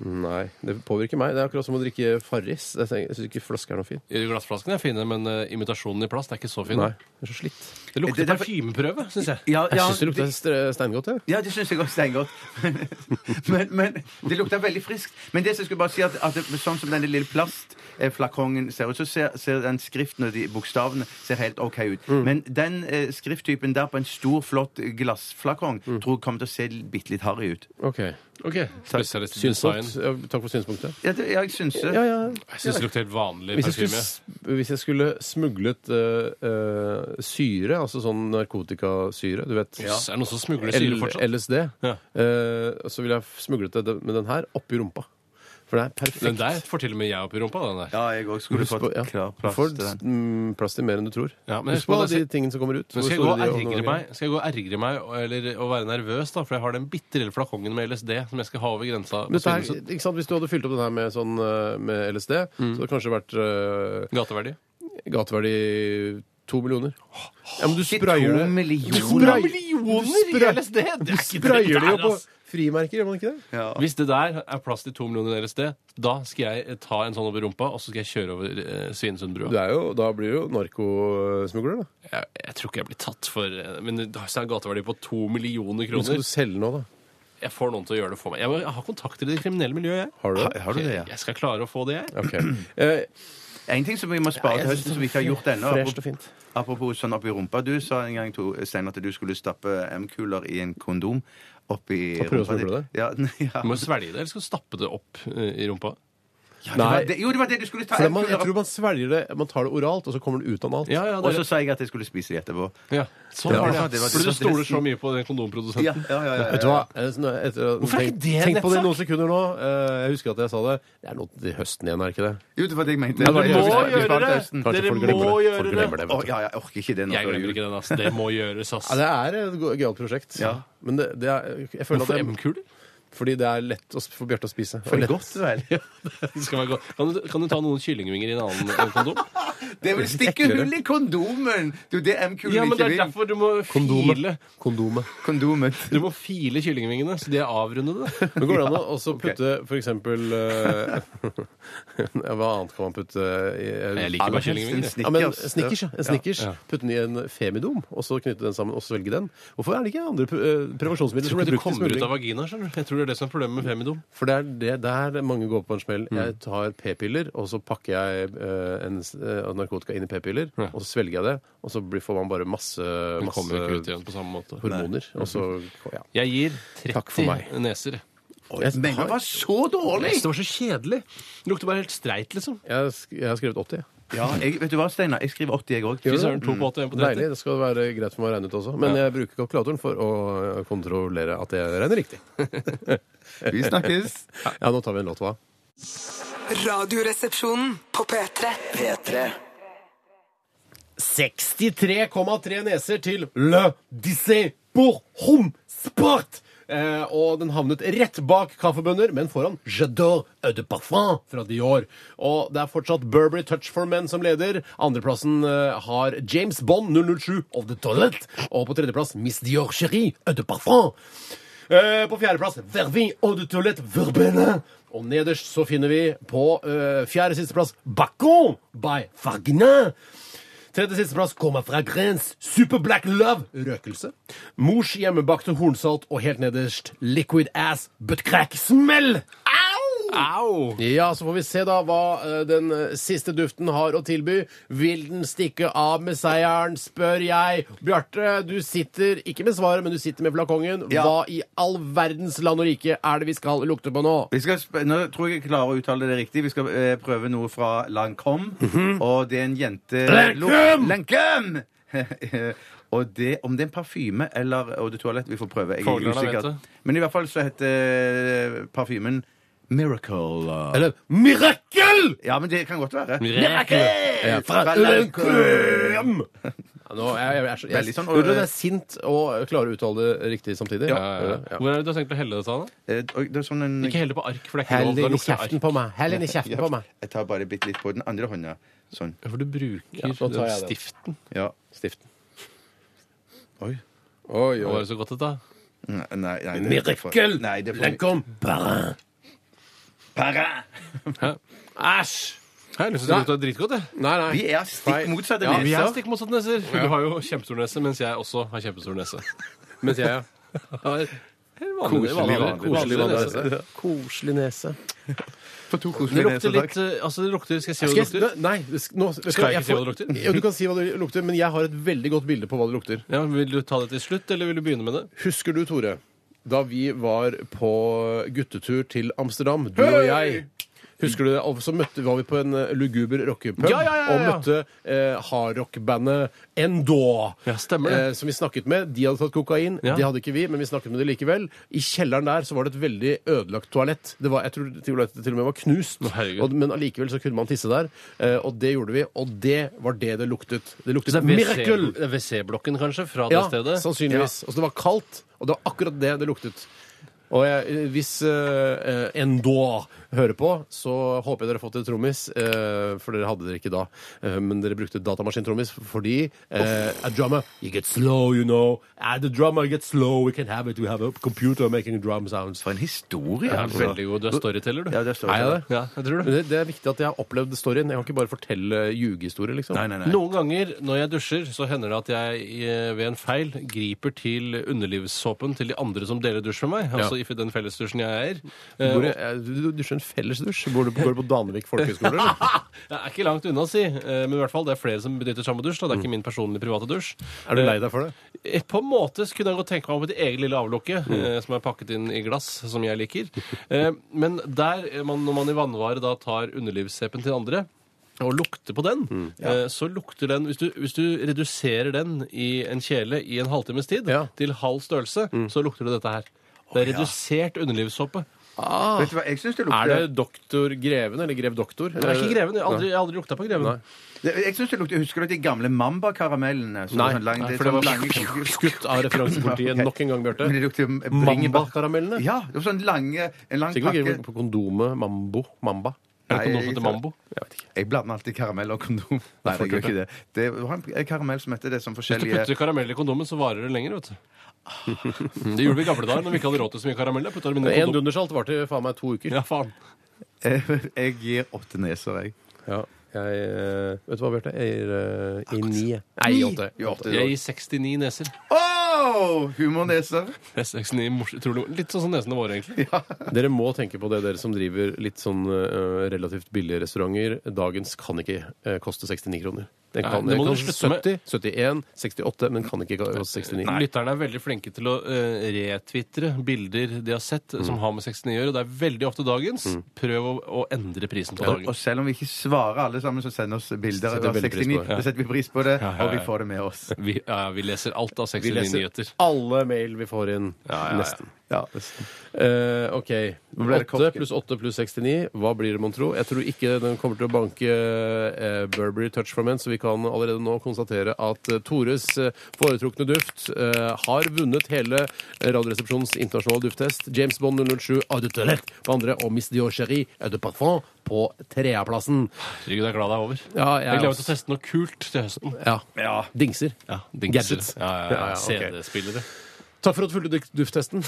Nei, det påvirker meg. Det er akkurat som å drikke Farris. Jeg tenker- jeg syns ikke flaske er noe fin.
Glassflaskene er fine, men eh, imitasjonen i plast er ikke så fin.
Nei, det er så slitt.
Det lukter
Det- det-
parfymeprøve, syns jeg.
Ja,
Jeg syns det lukter st- steingodt, jeg.
Ja, det syns jeg også er godt. Men, men det lukter veldig friskt. Men det som jeg skulle bare si at, at det, sånn som denne lille plastflakongen ser ut, så ser, ser den skriften og de bokstavene ser helt OK ut.
Mm.
Men den eh,
Mm.
skrifttypen der på en stor, flott glassflakong tror jeg kommer til å se bitte litt harry ut.
Ok. Ok,
Takk.
Spesialist i design.
Synspunkt.
Ja, Takk for synspunktet.
Ja, det- ja, jeg syns det.
Ja, ja.
Jeg syns det lukter helt vanlig
Hvis jeg skulle,
parfyme.
s- hvis jeg skulle smuglet eh, eh, syre, altså sånn narkotikasyre, du vet
Jøss, Er det noen som smugler syre
L-
fortsatt?
LSD,
Ja.
eh, så ville jeg smuglet det med den her oppi rumpa. For det er perfekt.
Den der får til og med jeg opp i rumpa. den der.
Ja, jeg òg skulle
Husk på-
fått
ja.
klar
Du
plass
får
til den.
mm, plass til mer enn du tror.
Ja, men
Husk
jeg-
på
men
de
jeg-
tingene som kommer ut.
Men
hvor
skal jeg gå
store
og
de er, og noen
ergre
ganger-
meg, skal jeg gå og ergre meg og- eller å være nervøs, da, for jeg har den bitte lille flakongen med LSD som jeg skal ha over grensa?
Men
på
dette her,
Svinesund.
ikke sant? Hvis du hadde fylt opp den her med, sånn, eh, med LSD, så hadde det kanskje vært eh,
Gateverdi.
gateverdi to millioner. Ja, men du
Ikke
sprayer
to
det.
millioner.
Du sprayer-
To millioner
du sprayer-
i LSD? Det er
Du
ikke
sprayer det jo
det der,
på
ass.
frimerker, gjør man ikke det?
Ja.
Hvis det der er plass til to millioner LSD, da skal jeg ta en sånn over rumpa, og så skal jeg kjøre over eh,
Du
Svinesundbrua.
er jo, da blir du jo narkosmugler, da.
Jeg, jeg tror ikke jeg blir tatt for eh, Men det har seg en gateverdi på to
Men
millioner
skal
kroner.
du selge nå, da?
Jeg får noen til å gjøre det for meg. Jeg, må- jeg har kontakter i det kriminelle miljøet, jeg.
Har du det?
Har du det, ja?
Jeg skal klare å få det, jeg.
Ok. Eh,
En ting som vi må spare til høsten, som vi ikke har gjort ennå
Fresht og fint.
Apropos sånn oppi rumpa. Du sa en gang to, Stein, at du skulle stappe M-kuler i en kondom oppi
Og prøve å
rumpa di.
smugle det?
Ja, ja.
Du må svelge det, eller skal du stappe det opp eh, i rumpa?
Ja, det var det- Jo, det var det du skulle ta.
for man, jeg
M-kuler
tror man svelger det, man tar det oralt, og så kommer det ut analt.
Ja, ja,
opp.
det
Og så sa jeg at jeg skulle spise det etterpå.
Ja, sånn
Ja,
var det. ja.
det var- det var-
Fordi du
det var-
stoler så mye på den kondomprodusenten.
Ja, ja, ja, ja,
Vet du hva? Eh, sånn, eh, Etter,
Hvorfor er ikke det en
tenk på det i
nettsak?
noen sekunder nå. Eh, Jeg husker at jeg sa det. Det er noe til høsten igjen, er det ikke det?
Jo, det var det jeg mente.
Ja, det var
Vi
det.
spar-
Må
vi spar
gjøre
til
det.
høsten.
Dere
folk glemmer
må
det.
gjøre
Folk
det.
glemmer det.
Å,
vet du.
ja, ja, jeg orker ikke det nå.
Jeg
før
glemmer
jul.
ikke den, ass. Det må gjøres, ass.
Ja, det er et go- gøyalt prosjekt.
Ja.
Men det, det er, jeg føler
Hvorfor
at det,
M-kuler?
fordi det er lett å sp- for Bjarte å spise. Og lett-
godt, vel.
Det skal være godt. Kan du, kan du ta noen kyllingvinger i en annen eh, kondom?
Det er vel stikke hull i kondomen! Det er jo det M-kulen
Ja, men
ikke
det er
vil.
derfor du må file
Kondomet. Kondomet.
Kondomet.
Du må file kyllingvingene, så de er avrundede.
Men går det an å også putte for eksempel eh, ja, Hva annet kan man putte i
Jeg liker bare kyllingvinger. jeg.
Snickers.
Ja, men Snickers, ja. En Snickers.
Ja.
Putte den i en femidom, og så knytte den sammen og svelge den. Hvorfor er det ikke andre pre- eh,
Jeg
prevensjonsmidler som
tror
blir
det
brukt i
kommer ut av
smugling?
vagina. skjønner du. Jeg tror det er det som er problemet med femidom.
For det er det der mange går på en smell.
Mm.
Jeg tar p-piller, og så pakker jeg eh, en, s- eh, narkotika inn i p-piller,
Ja.
og så svelger jeg det, og så blir, får man bare masse,
Den kommer ikke ut
masse
igjen på samme måte.
hormoner. Og så ja.
Jeg gir
Takk for meg.
30 neser.
Jeg,
Men det
har,
var så dårlig!
Det var så kjedelig. Det lukter bare helt streit, liksom.
jeg, har sk- jeg har skrevet 80. jeg.
Ja, jeg, vet du hva, Steinar? Jeg skriver 80, jeg òg.
Fy søren, to på 80, en på 30.
Deilig. Det skal være greit for meg å regne ut også. Men jeg bruker kalkulatoren for å eh, kontrollere at jeg regner riktig.
Vi snakkes.
Ja, nå tar vi en låt, hva?
Radioresepsjonen på P3.
P3.
63,3 neser til Le Dissé Bourhom Sport! Eh, og den havnet rett bak kaffebønner, men foran J'adore Eau de Parfum fra Dior. Og det er fortsatt Burberry Touch for Men som leder. Andreplassen eh, har James Bond 007 of the Toilet. Og på tredjeplass Miss Dior Cherie Eau de Parfum. Eh, på fjerdeplass Vervin Eau de Toilette Verbene. Og nederst så finner vi på eh, fjerde sisteplass Bacon by Fagna. Tredje sisteplass kommer fra Grens. Super Black Love. Røkelse. Mors hjemmebakte hornsalt, og helt nederst Liquid Ass But Crack Smell. Au!
Au!
Ja, så får vi se da hva eh, den eh, siste duften har å tilby. Vil den stikke av med seieren, spør jeg. Bjarte, du sitter ikke med svaret, men du sitter med flakongen.
Ja.
Hva i all verdens land og rike er det vi skal lukte på nå?
Vi skal, sp- nå tror jeg jeg klarer å uttale det riktig. Vi skal eh, prøve noe fra Lancôme. Og det er en jente
Lancôme!
Lancôme! og det, om det er en parfyme eller og det er toalett, vi får prøve. Jeg er
Foglerne vet
usikker.
det.
Men i hvert fall så heter eh, parfymen Miracle.
Eller Mirakel!
Ja, men det kan godt være.
Mirakel! Fra Lancôme! Ja, nå, jeg, jeg, er så, jeg,
Veldig sånn,
Vet du, det er sint og klarer å uttale det riktig samtidig.
Ja, ja, ja.
Ja.
Hvor er det du har tenkt å helle dette? av, da?
Eh, og Det er sånn en
Ikke helle på ark, for det er ikke
Hell
lov. Da
inn i
lukter
kjeften
ark.
på meg! Hell inn i kjeften på meg!
Jeg tar bare bitte litt på den andre hånda. Sånn.
Ja, For du bruker
Ja, nå tar
den
jeg det.
stiften.
Ja.
Stiften.
Oi.
Oi,
Hva var det så godt dette?
Nei, nei, nei det- det får-
Mirakel!
Nei, det får
Lancôme Barin.
Para!
Æsj!
Hei, jeg synes det lukter dritgodt, jeg.
Nei, nei.
Vi er stikk motsatte
Ja, vi er
neser.
stikk motsatt neser. Du har jo kjempestor nese, mens jeg også har kjempestor nese.
Mens jeg, ja.
Koselig,
Koselig, vanlig.
koselig altså.
Koselig
nese.
nese. Koselig nese.
For to
Det
koselige
lukter
neser,
litt
takk.
eh, Altså, det lukter Skal jeg si hva
Skal
det
jeg,
lukter?
nei, det sk- nå, vet du
Skal jeg ikke si
får-
hva det lukter?
Jo, du kan si hva det lukter, men jeg har et veldig godt bilde på hva det lukter.
Ja, vil du ta det til slutt, eller vil du begynne med det?
Husker du, Tore, da vi var på guttetur til Amsterdam, du og jeg. Husker du det? Og så møtte, var vi på en eh, luguber rockepub
Ja, ja, ja, ja,
og
ja.
møtte eh, hardrockbandet Endå.
Ja, stemmer det.
eh, som vi snakket med. De hadde tatt kokain.
Ja.
De hadde ikke vi, men vi snakket med dem likevel. I kjelleren der så var det et veldig ødelagt toalett. Det var, jeg tror toalettet til og med var knust,
herregud.
og, men allikevel så kunne man tisse der. Eh, og det gjorde vi, og det var det det luktet. Det luktet mirakel!
WC WC-blokken, kanskje, fra det
Ja,
stedet?
sannsynligvis. Og så det var kaldt, og det var akkurat det det luktet. Og jeg, hvis uh, Endå hører på, så håper jeg dere har fått et trommis. eh, for dere hadde dere ikke da. Eh, men dere brukte datamaskintrommis fordi eh, A drummer You get slow, you know. Ah, the drummer gets slow. We can have it. We have a computer making drum sounds.
For en historie!
Ja,
altså.
veldig god. Du er storyteller, du.
Ja, det står
Er jeg
det.
det?
Ja, jeg tror det.
Men det, det er viktig at jeg har opplevd storyen. Jeg kan ikke bare fortelle ljugehistorier, liksom.
Nei, nei, nei.
Noen ganger når jeg dusjer, så hender det at jeg eh, ved en feil griper til underlivssåpen til de andre som deler dusj med meg. Altså i den fellesdusjen jeg eier. Eh,
Bor jeg, eh, du du dusjer en fellesdusj? Bor du går du på Danvik folkehøgskole, eller?
Eh, Jeg er ikke langt unna, si. Eh, Men i hvert fall, det er flere som benytter samme dusj. Da. Det er ikke min personlige private dusj.
Mm. Er du lei deg for det?
Eh, På en måte så kunne jeg godt tenke meg om et eget lille avlukke
Mm.
eh, som er pakket inn i glass, som jeg liker. Eh, Men der, eh, man, når man i vannvare da tar underlivssepen til andre og lukter på den,
Mm.
eh, så lukter den hvis du, hvis du reduserer den i en kjele i en halvtimes tid
Ja. Mm.
til halv størrelse, så lukter det dette her. Det er redusert underlivssåpe.
Vet du hva, jeg syns det
Er
lukter
det doktor Greven eller Grev Doktor? Eh,
Det er ikke greven. Jeg har aldri, jeg har aldri lukta på greven.
Nei.
Det- Jeg synes det lukter, Husker du de gamle Mamba-karamellene? som
Nei,
var sånn lang-
nei,
det er
for det
sånn
var
lange-
skutt av referansepolitiet
Ok.
nok en gang, Bjarte.
Men det lukter bringebær.
Mamba-karamellene.
Ja, det var sånn lange, en lang
Tenk
pakke.
på kondomet Mambo. Mamba.
Er det kondom
Nei,
som heter mambo?
Jeg vet ikke.
Jeg blander alltid karamell og kondom. Nei, jeg gjør ikke det. Det var en en karamell som heter det som
Hvis du putter
forskjellige
karamell i kondomen, så varer det lenger, vet du. Det gjorde vi i gamle dager når vi ikke hadde råd til så mye karamell. Da putta vi dem i
En
kondom.
dundersalt varte faen meg to uker.
Ja, faen.
Jeg gir åtte neser, jeg.
Ja. Jeg, eh, vet du hva, Bjarte? Jeg gir eh, i ni. jeg. Nei, i åtte.
I åtte.
Jeg gir 69 neser.
Åh, humorneser!
Det er 69 mors- utrolig, Litt sånn som nesene våre, egentlig.
Dere må tenke på det, dere som driver litt sånn eh, relativt billige restauranter. Dagens kan ikke eh, koste 69 kroner. Den
Nei,
kan,
det må
den
du
kan
slutte med.
70, 71, 68, men kan ikke koste 69.
Lytterne er veldig flinke til å uh, retvitre bilder de har sett
Mm.
som har med 69 å gjøre. Det er veldig ofte dagens. Prøv å, å endre prisen på
Og
dagen.
selv om vi ikke svarer alle sammen, så sender oss bilder
Setter
av
veldig pris på
69.
det.
Da setter vi pris på det,
Ja, ja, ja.
og vi får det med oss.
Vi, ja, vi leser alt av 69
Vi leser
nyheter.
alle mail vi får inn.
Ja, ja, ja.
Nesten. Eh, OK.
ble det
8
kokke?
pluss 8 pluss 69. Hva blir det, mon tro? Jeg tror ikke den kommer til å banke eh, Burberry Touch for Men, så vi kan allerede nå konstatere at eh, Tores eh, foretrukne duft eh, har vunnet hele eh, Radioresepsjonens internasjonale dufttest. James Bond 007 Eau de Toilette på andre og Miss Dior Cherie Eau de Parfum på tredjeplassen.
Herregud, jeg er glad det er over.
Ja, jeg
jeg gleder meg
også.
til å teste noe kult til høsten.
Ja. Dingser.
Ja, dingser.
Gadgets.
Ja, ja,
Ja,
ja,
ja, ok.
CD-spillere.
Takk for at du fulgte duft- dufttesten.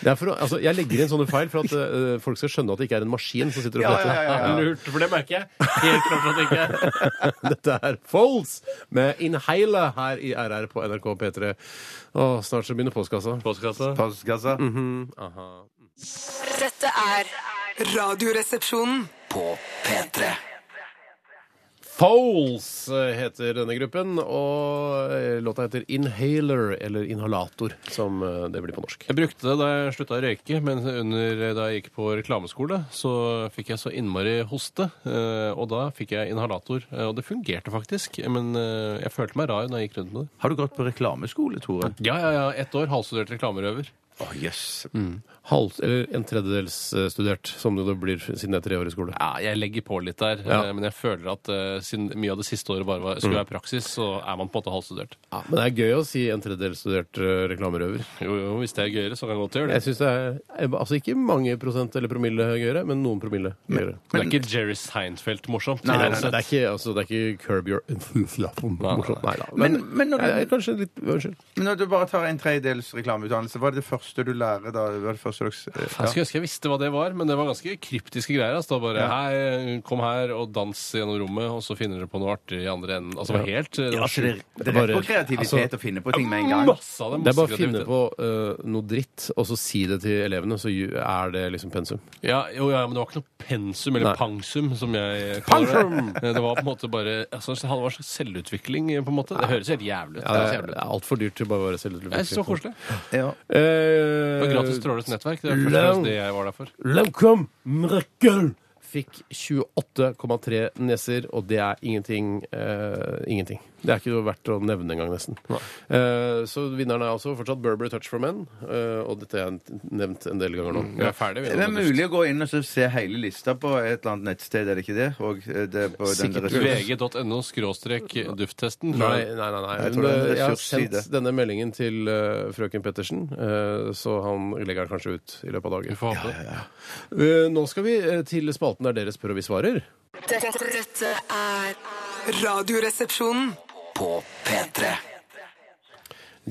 Det er for, å- altså, jeg legger inn sånne feil for at eh, folk skal skjønne at det ikke er en maskin som sitter og
Ja, ja,
fletter.
ja, ja.
Lurt, for det merker jeg. Helt klart at det ikke er.
Dette er Folds med Inhaler her i RR på NRK P3. Å, snart så begynner postkassa.
Postkassa.
Postkassa.
Dette er Radioresepsjonen.
På P3.
Foals eh, heter denne gruppen, og eh, låta heter Inhaler, eller Inhalator, som eh, det blir på norsk.
Jeg brukte det da jeg slutta å røyke, men under, eh, da jeg gikk på reklameskole, så fikk jeg så innmari hoste. eh, Og da fikk jeg inhalator, eh, og det fungerte faktisk. Men eh, jeg følte meg rar når jeg gikk rundt med det.
Har du gått på reklameskole, Tore?
Ja, ja, ja. Ett år halvstudert reklamerøver.
Å, jøss.
Halv, Mm. eller en tredjedels eh, studert, som det blir siden det er tre år i skole.
Ja, jeg legger på litt der,
Ja. Mm.
eh, men jeg føler at eh, siden mye av det siste året bare var, skulle være praksis, så er man på en måte halvstudert.
Ja, men det er gøy å si en tredjedels studert eh, reklamerøver.
Jo, jo, hvis det er gøyere, så kan jeg godt gjøre
Jeg
det.
synes det er altså ikke mange prosent eller promille gøyere, men noen promille gøyere.
Det er ikke Jerry Seinfeld-morsomt.
Nei, nei,
uansett.
nei, det er ikke, altså, det er ikke Curb Your Enthusiasm. Morsomt. Nei da. Men,
Men- men når du-
jeg er kanskje litt Unnskyld.
Men Når du bare tar en tredjedels reklameutdannelse, hva er det første du lærer da? Hva er det første eh, dags,
Jeg skulle ønske jeg visste hva det var, men det var ganske kryptiske greier. Altså. Det var bare Hei, kom her og dans gjennom rommet, og så finner dere på noe artig i andre enden. Altså, det var helt det var sjukt.
Det er rett på kreativitet å finne på ting med en gang.
Masse av det.
Det er
masse
bare å finne
kreativitet.
på eh, noe dritt, og så si det til elevene, så ju- er det liksom pensum.
Ja, jo, ja, men det var ikke noe pensum, eller
Nei.
pangsum, som jeg kaller
Pangsum!
det. Det var på en måte bare altså, Det var en slags selvutvikling, på en måte. Det høres helt jævlig ut.
Ja, det
det høres
er
jævlig ut.
altfor dyrt til bare å være Eh, selvutvikling.
Jeg synes det var koselig.
Ja.
Det var gratis Trålerets nettverk. Det er først og
Lang-
fremst det jeg var der for.
Welcome, miracle! Fikk 28,3 neser, og det er ingenting. eh, ingenting. Det er ikke noe verdt å nevne engang, nesten. Eh, så vinneren er altså fortsatt Burberry Touch for Men, eh, og dette har jeg nevnt en del ganger nå.
Mm, Vi er ferdig, vi.
Det er mulig å gå inn og så se hele lista på et eller annet nettsted, er det ikke det? Og eh, det er på den
Sikkert
ressurs-
vg.no skråstrek dufttesten.
Nei, nei, nei. nei.
Jeg
Men,
tror det er en
eh, jeg har
ressursside.
sendt denne meldingen til eh, frøken Pettersen, eh, så han legger den kanskje ut i løpet av
Vi
dagen.
får håpe.
Eh, nå skal vi eh, til spalten der dere spør og vi svarer.
Dette, dette er Radioresepsjonen.
På P3.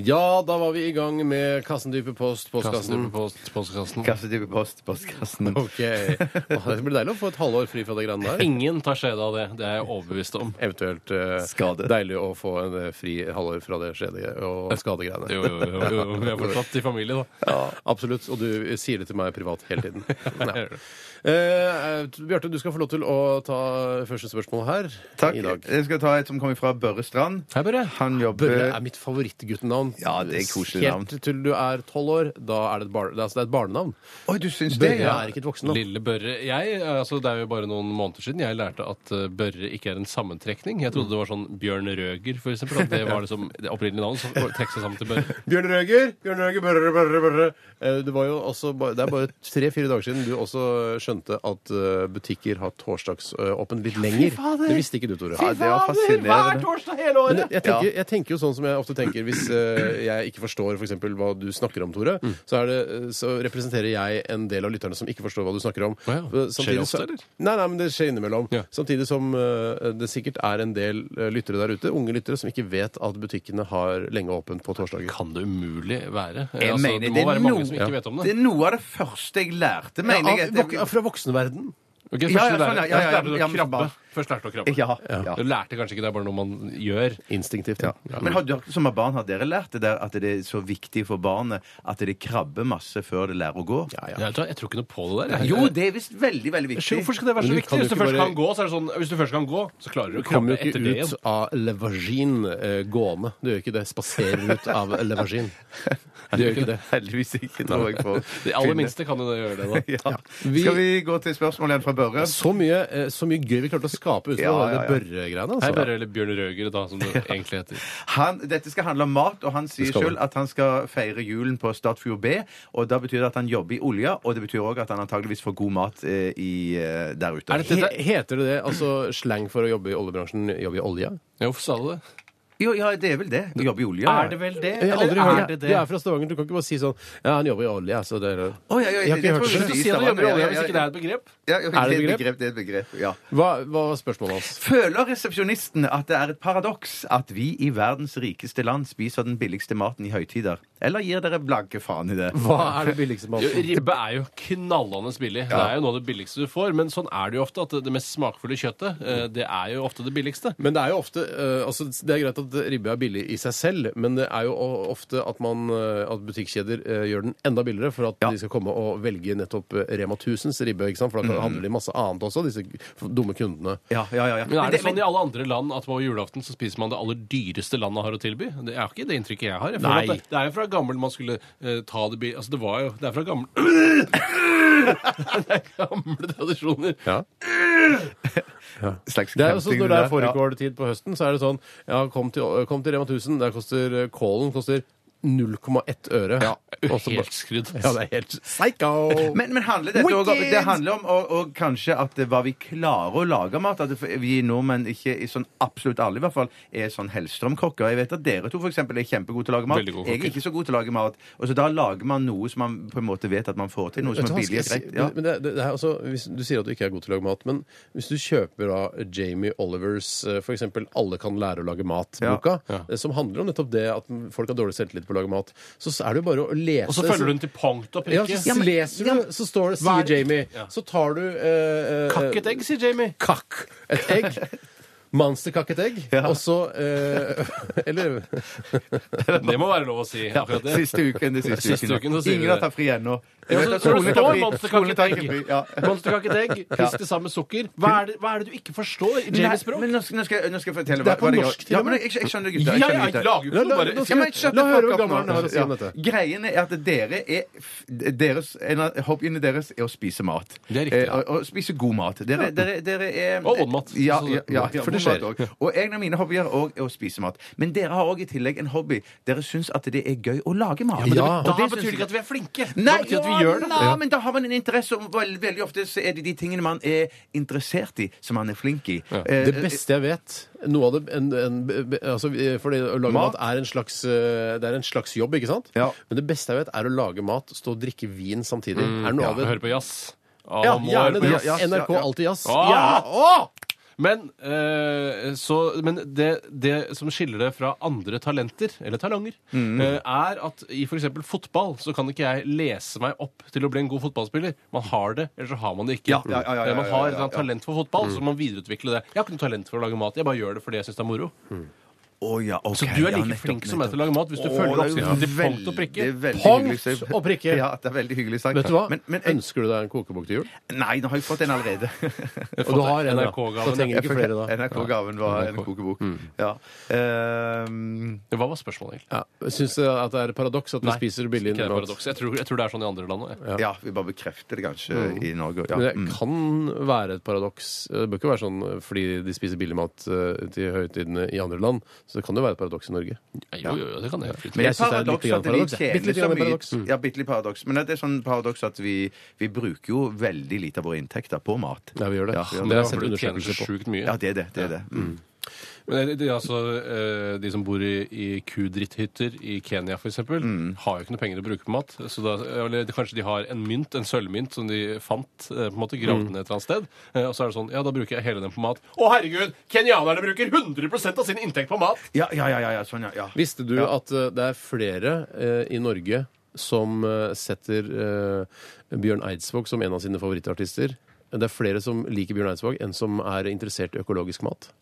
Ja, da var vi i gang med kassen dype post,
Postkassen
postkassen.
på post- postkassen.
Kassetype post, postkassen.
Ok. Åh, Det blir deilig å få et halvår fri fra det greiene der.
Ingen tar skjede av det. Det er jeg overbevist om.
Eventuelt eh,
Skade.
deilig å få en eh, fri halvår fra det skjede og skadegreiene.
Jo, jo, jo, jo. Vi er fortsatt i familie, da.
Ja, absolutt. Og du sier det til meg privat hele tiden. Ja.
gjør det.
Eh, Bjarte, du skal få lov til å ta første spørsmål her
Takk.
i dag.
Jeg skal ta et som kommer fra Børre Strand.
Hei, Børre.
Han jobber
Børre er mitt favorittguttenavn.
Ja, det er et koselig navn.
Helt til du er tolv år. Da er det et, bar det er, altså, det er et barnenavn.
Oi, du syns det?
Børre
Ja.
er ikke et voksennavn.
Lille Børre jeg, altså Det er jo bare noen måneder siden jeg lærte at eh, Børre ikke er en sammentrekning. Jeg trodde det var sånn Bjørn Røger, for eksempel. At det var liksom det opprinnelige navnet som trekker seg sammen til Børre.
Bjørn Røger, Bjørn Røger, Børre, Børre, Børre. Eh, Det, var jo også, ba- det er bare tre-fire dager siden du også skjønte at eh, butikker har torsdagsåpent litt lenger. Det visste ikke du, Tore.
Ja, det var fascinerende.
torsdag hele
Men jeg, jeg, tenker, jeg tenker jo sånn som jeg ofte tenker hvis eh, jeg ikke forstår for eksempel hva du snakker om, Tore.
Mm.
Så, er det, eh, så representerer jeg en del av lytterne som ikke forstår hva du snakker om.
Å ja.
Eh,
Skjer det
så-
ofte, eller?
Nei, nei, men det skjer innimellom.
Ja.
Samtidig som eh, det sikkert er en del eh, lyttere der ute, unge lyttere, som ikke vet at butikkene har lenge åpent på torsdager.
Kan det umulig være? Eh,
Jeg
Altså,
mener,
det
det
må
er
være mange
noe-
som ikke vet om
Det
det.
er noe av det første jeg lærte,
Ja, altså,
mener jeg.
av, vok fra voksenverden.
Ok,
Ja,
først
ja,
du
sånn, ja,
lærer-
ja, ja,
først lærte du
ja,
å
men
krabbe.
bare-
Først lærte du å krabbe.
Ja, ja.
Du lærte kanskje ikke det er bare noe man gjør.
Instinktivt. Ja.
Men har dere som er barn, har dere lært det der at det er så viktig for barnet at det krabber masse før det lærer å gå?
Jeg tror, jeg tror ikke noe på det der. jeg.
Jo, det er visst veldig, veldig viktig.
Hvorfor skal det være
Men
så
du
viktig?
kan jo
Hvis du,
ikke
først
bare-
kan gå, så er det sånn, hvis du først kan gå, så klarer du å
Du kommer
krabbe
jo
etter
ikke
det igjen.
ut av Le Vagin eh, gående. Du gjør ikke det. Spaserer ut av Le Vagin. Du gjør ikke det.
Heldigvis ikke, tror jeg. på
De aller minste kan jo det gjøre det, da.
Ja.
Vi-
Skal vi gå til spørsmål igjen fra Børre?
Så mye, eh, så mye gøy vi klarte å skape ut
Ja,
av
ja,
det
ja.
Børre-greiene.
Hei,
Altså.
Børre eller Bjørn Røger, da, som det egentlig heter.
Han, dette skal handle om mat, og han sier
skal
sjøl
det.
at han skal feire julen på Statfjord B. Og da betyr det at han jobber i olja, og det betyr òg at han antageligvis får god mat eh, i, eh, der ute.
Er det-
He heter det det? Altså slang for å jobbe i oljebransjen? Jobbe i olja?
Ja, hvorfor sa du det?
Jo, ja, det er vel det. Å jobbe i olja.
vel det?
Jeg har aldri hørt det.
det
Du er fra Stavanger, du kan ikke bare si sånn Ja, han jobber i olja, så det er
Å, ja, ja,
Jeg har ikke
det
hørt
tror jeg
det.
vi
Si
sier i
at du jobber i
Stavanger.
olja
Ja, ja,
hvis ikke det er et begrep.
ja, ja,
Er det
det er
et
et begrep? Det er et begrep, ja.
Hva, hva var spørsmålet hans?
Føler resepsjonisten at det er et paradoks at vi i verdens rikeste land spiser den billigste maten i høytider? Eller gir dere blanke faen i det?
Hva er det billigste
Jo,
maten?
Ribbe er jo knallende billig. Det er jo noe av det billigste du får. Men sånn er det jo ofte, at det- det mest smakfulle kjøttet, eh, det er jo ofte det billigste.
Men det er jo ofte eh, altså Det er greit at ribbe er billig i seg selv, men det er jo o- ofte at, man, eh, at butikkjeder eh, gjør den enda billigere for at de skal komme og velge nettopp eh, Rema 1000s ribbe, ikke sant? for da
Mm.
kan- handler de masse annet også, disse dumme kundene.
Ja, ja, ja. ja.
Men er det
Men-
sånn i alle andre land at på julaften så spiser man det aller dyreste landet har å tilby? Det er ikke det inntrykket jeg har. Jeg føler
Nei.
at det, det er jo fra gammel man skulle eh, ta det bi... Altså, det var jo Det er fra gammel Det er gamle tradisjoner.
Ja.
slags
Det er jo sånn
camping
Når det
der.
er fårikåltid på høsten, så er det sånn Ja, kom til, kom til Rema 1000. Der koster eh, kålen koster 0,1 øre. Ja,
Helt skrudd.
ja, det er helt psycho!
Men, men handler dette også, om-
Wicked!
det handler om og, og kanskje at det- hva vi klarer å lage mat? At det- vi nordmenn ikke, i sånn absolutt alle i hvert fall, er sånn Hellstrøm-kokker. Jeg vet at dere to for eksempel, er kjempegode til å lage mat.
Veldig gode
Jeg er
kokker.
ikke så god til å lage mat. Og så da lager man noe som man på en måte vet at man får til. Noe som
Vet
er
du hva,
billig og
skal jeg
greit.
si-
Ja.
men- men det- det- det er altså, hvis, du sier at du ikke er god til å lage mat, men hvis du kjøper da Jamie Olivers eh, for eksempel 'Alle kan lære å lage mat'-boka,
Ja. Ja.
eh, som handler om nettopp det at folk har dårlig selvtillit på å lage mat, så er det jo bare å lese.
Og så følger du den til punkt og
ja,
prikke.
så
Ja,
men-
leser
ja,
du, så står det,
Hva
sier
er det-
Jamie,
Ja.
så tar du eh, eh,
Kakk et egg, sier Jamie.
kakk et egg. Monsterkakk et egg. Og så eh, Eller
Det må være lov å si. akkurat det.
Siste uken. det siste,
Siste uken, så sier
Ingen
vi
har
det.
tatt fri ennå.
Ja,
Jeg vet
så-
at
så
skolen
det
tar
står
fri. Skolen tar ikke fri,
monsterkakket
ja.
egg. Monsterkakket egg, pisk det sammen med sukker. Hva er det, hva er det du ikke forstår i Jamies
Nei,
språk?
men nå skal, nå, skal jeg, nå skal jeg fortelle
Det er på
hva- hva
norsk, til
Ja,
og med.
men jeg, jeg skjønner,
Ja,
gutter. Jeg
ja,
skjønner,
jeg lager
gutter.
jo ikke
La- la-
noe
la-
bare
Ja, men shut
La
the
høre
fuck
hvor
up
gammel
nå.
han er å si om
Ja.
dette.
Greien er at dere er deres, En av hobbyene deres er å spise mat.
Det er riktig.
Eh, og- og spise god mat. Dere, dere, dere er
Og vond mat.
Ja,
Så-
ja, ja, ja
for
for
det
det
skjer.
Og en av mine hobbyer også er å spise mat. Men dere har òg i tillegg en hobby. Dere syns at det er gøy å lage mat.
men det-
Og
Da
det
betyr
syns
det
jeg-
ikke at vi er flinke.
Nei,
da betyr det at vi
ja,
gjør det.
nei, men da har man en interesse om veldig, veldig ofte så er det de tingene man er interessert i, som man er flink i. Eh,
Det beste jeg vet noe av det, en, en, be- altså, For det å lage
Mat.
mat, er, en slags, eh, det er en slags jobb, ikke sant?
Ja.
Men det beste jeg vet, er å lage mat, stå og drikke vin samtidig. er det noe av det?
Hør på jazz.
Ja,
må høre
gjerne
på
det.
jazz, jazz, ja,
NRK
ja.
Alltid Jazz.
Ah!
Ja! Åh!
Men, eh, så, men det, det som skiller det fra andre talenter, eller talanger,
Mm.
eh, er at i f.eks. fotball så kan ikke jeg lese meg opp til å bli en god fotballspiller. Man har det, eller så har man det ikke.
Ja, ja, ja, ja, ja,
Eh, man
ja,
har
ja,
et eller annet
ja. Mm.
talent for fotball, så må man videreutvikle det. Jeg har ikke noe talent for å lage mat, jeg bare gjør det fordi jeg syns det er moro.
å ja, ok,
Så du er
ja,
like
nettopp,
flink som meg
nettopp.
til å lage mat hvis du
Å,
følger
det er jo
oppskriften til punkt og
veldig-
prikke.
det er veldig
Punkt
hyggelig sagt.
og prikke.
Ja, det er veldig hyggelig sagt.
Vet du hva?
Men, men jeg,
Ønsker du deg en kokebok til jul?
nei, nå har jeg fått en allerede.
Og du har en, ja.
NRK-gaven,
Da trenger
ja. Mm.
du ikke flere da.
NRK-gaven var en kokebok. Ja. Ehm,
Hva var spørsmålet egentlig?
Ja. Syns du at det er et paradoks at vi spiser billig
Ikke det
mat?
paradoks. Jeg tror, jeg tror det er sånn i andre land òg.
ja, vi bare bekrefter det kanskje i Norge. Ja.
Men det
Mm.
kan være et paradoks. Det bør ikke være sånn eh, fordi de spiser billig mat eh, til høytidene i andre land. Så det kan jo være et paradoks i Norge.
Jo, jo, jo, det kan jeg.
Men
Jeg synes det er
paradoks
litt grann
at vi
paradoks, ja.
tjener
Bitte litt
så
grann
mye-
paradoks. Mm.
Ja, bitte litt paradoks. Men det er sånn paradoks at vi, vi bruker jo veldig lite av våre inntekter på mat.
Ja, vi gjør det.
Ja, vi
det har
gjør det.
jeg sett
For du tjener
undersøkelser
så
på.
sjukt mye.
Ja, det er det. det, er det. Mm.
Men det, det, er altså, eh, de som bor i, i kudritthytter i Kenya f.eks., eksempel
Mm.
har jo ikke noe penger å bruke på mat. Så da, eller det- kanskje de har en mynt, en sølvmynt som de fant, eh, på en måte
Mm.
gravd ned et eller annet sted. Eh, og så er det sånn Ja, da bruker jeg hele den på mat. Å herregud! Kenyanerne bruker 100 av sin inntekt på mat!
Ja, ja, ja, ja, ja, sånn, ja. ja.
Visste du at eh, det er flere eh, i Norge som eh, setter eh, Bjørn Eidsvåg som en av sine favorittartister? Det er flere som liker Bjørn Eidsvåg enn som er interessert i økologisk mat.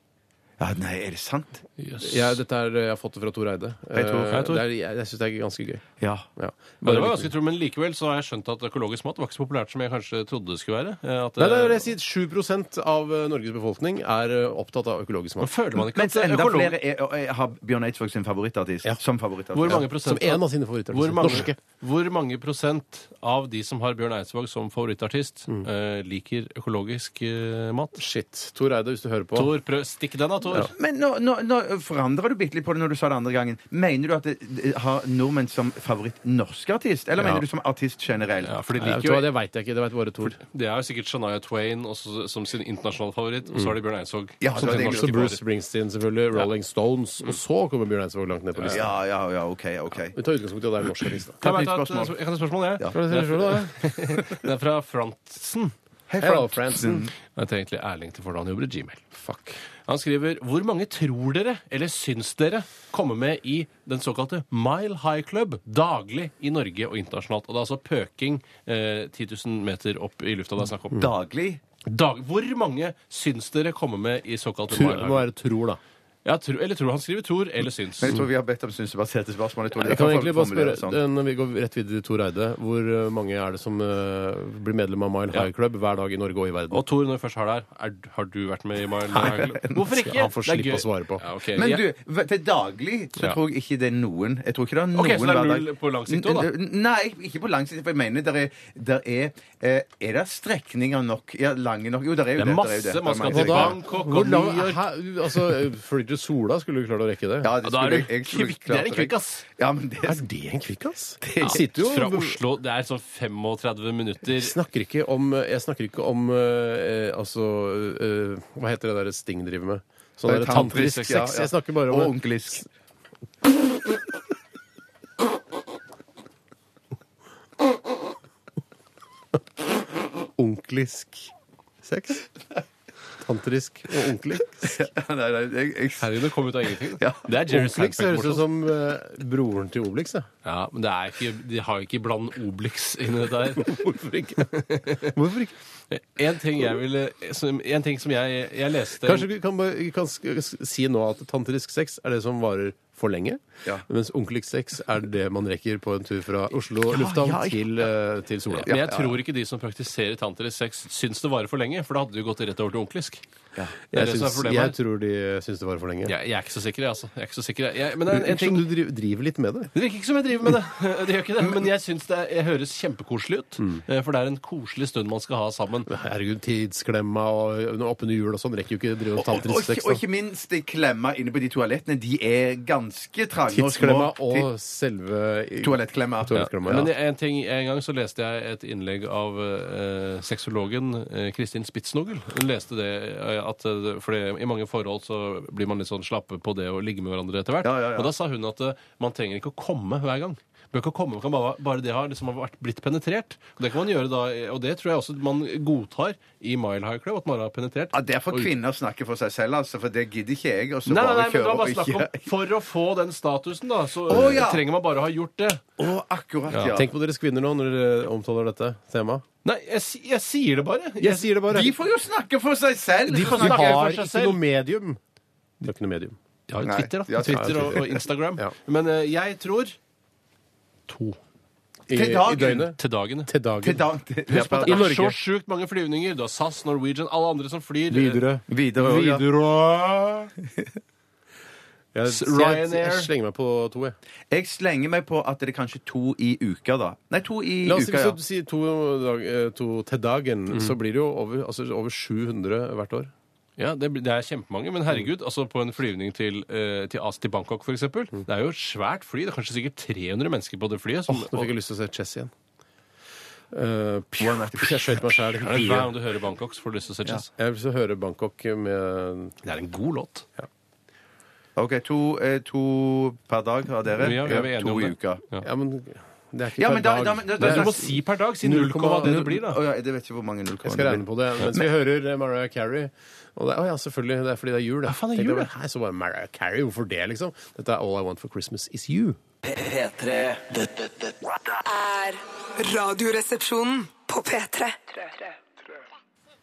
ja nei, er det sant?
Jeg, dette er, jeg har fått det fra Tor Eide. Eh,
Hei, Tor. Hei,
Tor.
Det er, jeg jeg syns det er ganske gøy.
Ja.
Ja.
Ja, det var ganske tro, Men likevel så har jeg skjønt at økologisk mat var ikke så populært som jeg kanskje trodde det skulle være. Eh, At,
Nei, nei,
eh,
jeg sier 7 av eh, Norges befolkning er eh, opptatt av økologisk
men
mat.
føler man ikke
Mens
at
enda
økolog-
flere er, og- og har Bjørn Eidsvåg sin favorittartist som favorittartist.
Hvor mange
Ja.
prosent
Som en av sine favorittartister.
Hvor mange,
Norske.
hvor mange prosent av de som har Bjørn Eidsvåg som favorittartist,
Mm.
eh, liker økologisk eh, mat?
Shit. Tor Eide, hvis du hører på.
Tor, prøv, stikk den da, Tor.
Men nå, nå, nå forandra du bitte litt på det når du sa det andre gangen. Mener du at det, det, har nordmenn som favoritt norsk artist, eller
Ja.
mener du som artist generelt?
Ja, for de
Nei, vet
liker
du hva,
jo
det veit jeg ikke. Det veit bare Tor.
Det er jo sikkert Shania Twain også, som sin internasjonale favoritt, og så har de Bjørn Eidsvåg
Mm. Ja,
som
det
sin
er
Så
norske
Bruce Mm.
favoritt.
Springsteen, selvfølgelig. Rolling Stones. Og så kommer Bjørn Eidsvåg langt ned på lista.
ja, ja, ja, OK. ok
Vi tar utgangspunkt i at det er en norsk artist. da.
Kan
Ta et
jeg ta
nytt
et
spørsmål.
jeg kan ta et spørsmål, jeg?
Hva er det du tror da?
Det er fra Frantsen.
Hei,
Hello,
Frank. Mm.
Fransen.
Jeg heter egentlig Erling til hvordan han jobber i Gmail. Fuck. Han skriver Hvor mange tror dere, eller syns dere, kommer med i den såkalte Mile High Club daglig i Norge og internasjonalt? Og det er altså pøking eh, 10 000 meter opp i lufta det er snakk om.
Daglig?
Dag hvor mange syns dere kommer med i såkalte
Tror,
Mile
må
High Club?
være tror, da.
Ja, tro, eller tror han skriver tror, eller syns.
Men jeg tror vi har bedt om synsebaserte spørsmål. Jeg tror
Jeg kan
derfor
egentlig bare
formulerer
spørre,
det sånn.
eh, når vi går rett videre til Tor Eide, hvor eh, mange er det som eh, blir medlem av Mile
Ja.
High Club hver dag i Norge og i verden?
Og Tor, når vi først har deg her, er, har du vært med i Mile High Club? Hvorfor ikke?
Han får
Det er
slippe å
gøy.
svare på.
Ja, ok.
Men
Ja.
du, v- til daglig så
Ja.
tror jeg ikke det er noen. Jeg tror ikke det er noen
Ok, så det er
hver dag.
null på lang sikt også, da?
N- n- Nei, ikke på lang sikt. For jeg mener der er, der er, eh, er det strekninger nok? Ja, lange nok? Jo, der er
Det er
jo det. der jo
masse,
det. Der er
man skal
mange
til
strekninger.
Bangkok
Hvor
og
lang,
New York.
hæ, altså, Flyr til Sola, skulle du klart å rekke det?
Ja,
Ja,
det
da er
skulle
du
jeg- jeg skulle
kvikk. Det
klart
er en kvikk, ass.
Ja, men det
Er det en kvikkas? Ja. Sitter jo
Fra Oslo. Det er sånn 35 minutter.
Snakker ikke om, jeg snakker ikke om eh, altså eh, Hva heter det der Sting driver med? Sånn der tantrisk sex.
ja, ja.
Jeg snakker bare
Og
om
onkelisk.
onklisk sex. Tantrisk og ordentlig.
nei, nei, jeg, jeg,
Herregud, det kom ut av ingenting.
Ja.
Det er Jerry
Obelix
Seinfeld.
høres ut
borte.
som eh, broren til Obelix. Ja.
Ja, men det er ikke, de har ikke bland Obelix inn i dette her. Hvorfor ikke?
Hvorfor ikke?
En ting jeg ville som, En ting som jeg, jeg leste
Kanskje vi kan, bare- vi kan sk- s- si nå at tantrisk sex er det som varer for lenge,
Ja.
mens onkelig sex er det man rekker på en tur fra Oslo lufthavn
ja, ja.
Til, eh, til Sola.
Men jeg tror ikke de som praktiserer tantrisk sex, syns det varer for lenge. For da hadde du gått rett over til onkelisk. Det er
Jeg,
det som er
syns,
problemet
jeg
her.
tror de eh, syns det varer for lenge.
Jeg, jeg er ikke så sikker, jeg, altså. Jeg er ikke så sikker, jeg. jeg men det er
Virker
en ting
som du driver, driver litt med det.
Det virker ikke som jeg driver med det. Det gjør ikke det, Men jeg syns det er- høres kjempekoselig ut.
Mm.
eh, For det er en koselig stund man skal ha sammen.
Herregud, tidsklemma og oppunder jul og sånn rekker jo ikke å drive med
og, og,
tantrisk
ikke-
sex.
og
da.
ikke minst de klemmer inne på de toalettene. De er ganske trange og
Tidsklemma
små.
og selve
Ti- Toalettklemmer.
Toalettklemmer,
Men
ja.
en, ting, en gang så leste jeg et innlegg av eh, sexologen eh, Kristin Spitsnogel. Hun leste det eh, at eh, fordi i mange forhold så blir man litt sånn slappe på det å ligge med hverandre etter hvert.
Ja, ja, ja.
Og da sa hun at eh, man trenger ikke å komme hver gang. Man kan komme, man kan bare, bare det har liksom vært, blitt penetrert. Og det kan man gjøre da, eh, og det tror jeg også man godtar i Mile High Club, at man har penetrert.
Ja, det er for
Og-
kvinner snakker for seg selv, altså. For det gidder ikke jeg. Og så
Nei, nei,
bare
nei, men det
kjøre
var bare
og
snakk
ikke-
om For å få den statusen, da, så
Å, ja.
eh, trenger man bare å ha gjort det.
Å, akkurat, ja.
Tenk på deres kvinner nå når dere omtaler dette temaet.
Nei, jeg, si- jeg sier det bare.
Jeg sier det bare.
De får jo snakke for seg selv!
De får
Vi
snakke
har
for seg
ikke
selv.
noe medium. Det er ikke noe medium.
De har jo
Nei,
Twitter, da.
de har
Twitter
Twitter.
og, og Instagram.
Ja.
Men eh, jeg tror to
I,
Til dagen.
i døgnet.
til dagen.
Til dagen.
Til dag- til-
Vi er på-
Det
I
er
Norge.
så sjukt mange flyvninger. Du har SAS, Norwegian, alle andre som flyr.
Widerøe.
Videre. også, ja.
Widerøe. Jeg,
S-
jeg,
Ryanair.
jeg slenger meg på to, jeg.
Jeg slenger meg på at det er kanskje to i uka, da. Nei, to i
La oss si,
uka,
hvis
ja. Mm.
du sier to, dag, eh, to til dagen, så blir det jo over, altså, over 700 hvert år.
Ja, det, blir- det er kjempemange. Men herregud, altså på en flyvning til, eh, til, As- til Bangkok, f.eks. eksempel Det er jo et svært fly. Det er kanskje sikkert 300 mennesker på det flyet. Som,
Nå fikk jeg lyst til å se Chess igjen. Eh, pju, pju, jeg skjøt meg sjæl.
Er det hver gang du hører Bangkok, så får du lyst til å se Chess.
Jeg vil så høre Bangkok med
Det er en god låt.
OK, to, eh, to per dag har dere.
Ja, vi er enige
to
om
i
det.
uka.
Ja.
Ja, men det er ikke
Ja,
per
men da- da-
dag.
men da-
Men
da-
du må si per dag. Si null komma det det blir, da.
Å, ja, jeg vet ikke hvor mange null
Jeg skal regne
det
på
blir.
det. Mens vi hører eh, Mariah Carey og det, Å ja, selvfølgelig. Det er fordi det er jul. det.
Ja, faen,
Tenkte
det er
jeg
jul,
bare, Hei, så bare Mariah Carey, hvorfor det, liksom? Dette er All I Want for Christmas Is You.
P3. Dette, dette
er Radioresepsjonen på P3.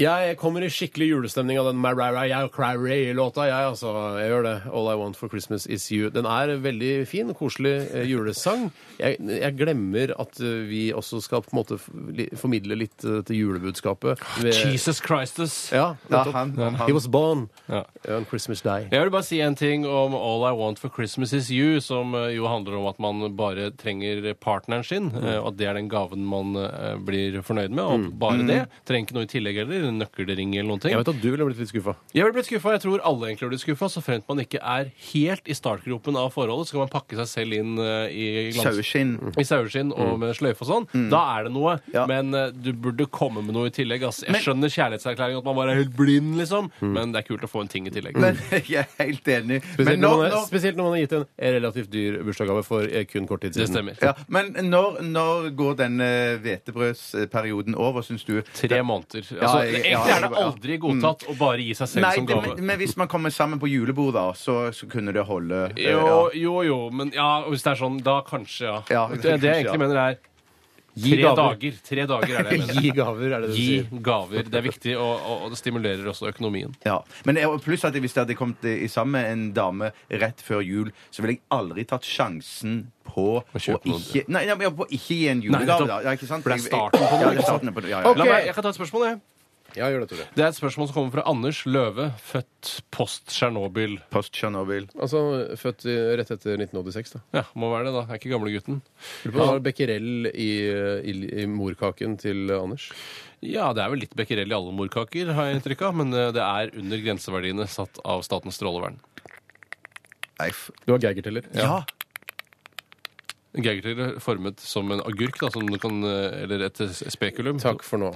Jeg kommer i skikkelig julestemning av den Mariah Carey-låta, jeg, altså. Jeg gjør det. All I Want for Christmas Is You. Den er veldig fin, koselig eh, julesang. Jeg, jeg glemmer at eh, vi også skal på en måte f- li- formidle litt eh, til julebudskapet. ved-
Jesus Christus.
Ja,
Ja,
nettopp.
han, han,
He
han.
was born
Ja.
on Christmas Day.
Jeg vil bare si en ting om All I Want for Christmas Is You, som eh, jo handler om at man bare trenger partneren sin,
Mm.
eh, og at det er den gaven man eh, blir fornøyd med. Og
Mm.
bare det. Trenger ikke noe i tillegg heller. en Nøkkelring eller noen ting.
Jeg vet at du ville blitt litt skuffa.
Jeg ville blitt skuffa. Jeg tror alle egentlig blir skuffa, så fremt man ikke er helt i startgropen av forholdet. Så kan man pakke seg selv inn eh, i glans Mm.
Saueskinn. Mm.
i saueskinn og med sløyfe og sånn. Da er det noe.
Ja.
Men eh, du burde komme med noe i tillegg. Ass. Jeg skjønner kjærlighetserklæring, at man bare er helt blind, liksom. Men det er kult å få en ting i tillegg.
Mm. Men jeg er helt enig.
Spesielt,
Men når,
når man er,
når,
spesielt når man har gitt en relativt dyr bursdagsgave for eh, kun kort tid
Det
siden.
stemmer.
ja, men når, når går denne hvetebrødsperioden over, syns du?
Tre måneder. Altså,
jeg-
egentlig
ja,
er det
ja.
aldri godtatt å bare gi seg selv
Nei,
som
det,
gave.
men, men hvis man kommer sammen på julebord, da, så, så kunne det holde. eh,
Jo, jo, jo, men ja, hvis det er sånn, da kanskje, ja.
Ja,
det, det jeg
kanskje,
egentlig mener, er
Gi
tre
gaver.
dager. Tre dager er det jeg mener.
Gi gaver, er det det du
Gi
sier.
gaver. Det er viktig, og, og, og det stimulerer også økonomien.
Ja. Men jeg, pluss at hvis jeg hadde kommet eh, i sammen med en dame rett før jul, så ville jeg aldri tatt sjansen på å
kjøpe noe.
ikke Nei, nei, men på ikke gi en
Nei,
julegave,
nettopp.
da. Ja, ikke sant?
For det er
Jeg-
starten på noe,
Ja,
ikke
det er
sant?
starten på noe. Ja, ja.
La meg, jeg kan ta et spørsmål, jeg.
Ja, gjør det, Tore.
Det er et spørsmål som kommer fra Anders Løve, født post-Tsjernobyl.
Post Tsjernobyl.
Altså født i, rett etter 1986, da.
Ja, må være det, da. Er ikke gamlegutten.
Lurer på om det var Becquerel i, i, i morkaken til Anders.
Ja, det er vel litt becquerel i alle morkaker, har jeg inntrykk av, men eh, det er under grenseverdiene satt av Statens strålevern.
Nei, f-
Du har geigerteller?
Ja.
Geigertiller formet som en agurk, da, som du kan, eh, eller et s- spekulum.
Takk for nå.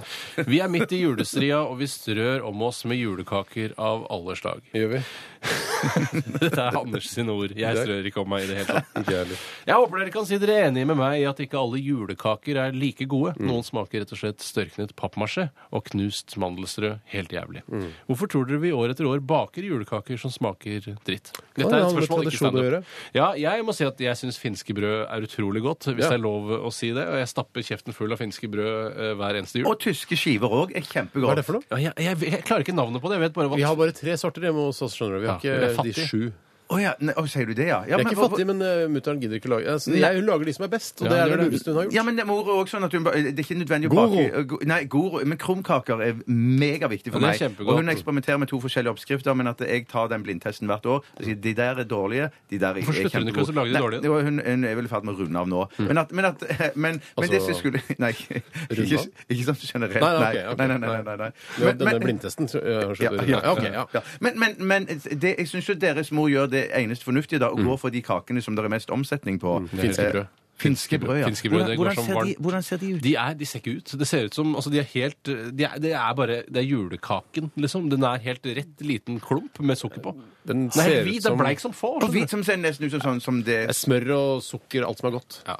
Vi er midt i julestria, og vi strør om oss med julekaker av alle slag.
Gjør vi?
Dette er Anders sine ord. Jeg
Det-
strør ikke om meg i det hele tatt.
Ikke jeg heller.
Jeg håper dere kan si dere er enige med meg i at ikke alle julekaker er like gode.
Mm.
Noen smaker rett og slett størknet pappmasjé og knust mandelstrø helt jævlig.
Mm.
Hvorfor tror dere vi år etter år baker julekaker som smaker dritt?
det
Dette
ha
er et
noe med
spørsmål ikke
tradisjon å gjøre?
standup. Ja, jeg må si at jeg syns finske brød er utrolig godt, hvis
Ja.
det er lov å si det. Og jeg stapper kjeften full av finske brød eh, hver eneste jul.
Og tyske skiver òg er kjempegodt.
Hva er det for noe?
Ja, jeg, jeg, jeg klarer ikke navnet på det. Jeg vet bare hva
Vi har bare tre sorter hjemme hos oss, skjønner du. Vi har
Ja, vi er
ikke de
fattige.
sju.
Å ja, nei, å, sier du det, ja? ja
Jeg er ikke fattig, men uh, mutter'n gidder ikke å lage altså, jeg, Hun lager de som er best, og
Ja,
det er
det
det
gjør det.
lureste hun har gjort.
Ja, men mor er også sånn at hun ba- Det er ikke nødvendig å
Goro.
bake eh, go- Nei, goro, men krumkaker er megaviktig
Ja,
for meg.
det er kjempegodt.
Og hun eksperimenterer med to forskjellige oppskrifter, men at jeg tar den blindtesten hvert år. Og sier de der er dårlige, de der er
Hvorfor
er
slutter hun ikke
kjempegode.
å lage de
Nei,
dårlige? Mm.
det var- hun, hun er vel i ferd med å runde av nå. Men at Men, at, men,
Altså,
men det som skulle Nei, ikke,
Runde
ikke,
av?
ikke sånn generelt.
Nei,
Nei,
nei, ok, ok.
nei, nei. nei, nei, nei.
Det var Denne blindtesten. så- eh, ja,
Ja,
skjønner du.
ja,
ok, ja.
ja. Men, men, men det, jeg syns jo deres mor gjør det eneste fornuftige, da. Å gå for de kakene som det er mest omsetning på.
Mm. finske brød.
Eh, Finske brød, ja.
Finske brød, det går
hvordan,
som
ser
varmt.
de, hvordan ser de ut?
De, er, de ser ikke ut. Det ser ut som altså, de er helt de er, Det er bare Det er julekaken, liksom. Den er helt rett liten klump med sukker på.
Den
Den er
ser
helt hvit.
ut
Den er
som
bleik som få.
Og hvit som ser nesten ut som sånn som det
Det er smør og sukker, alt som er godt.
Ja.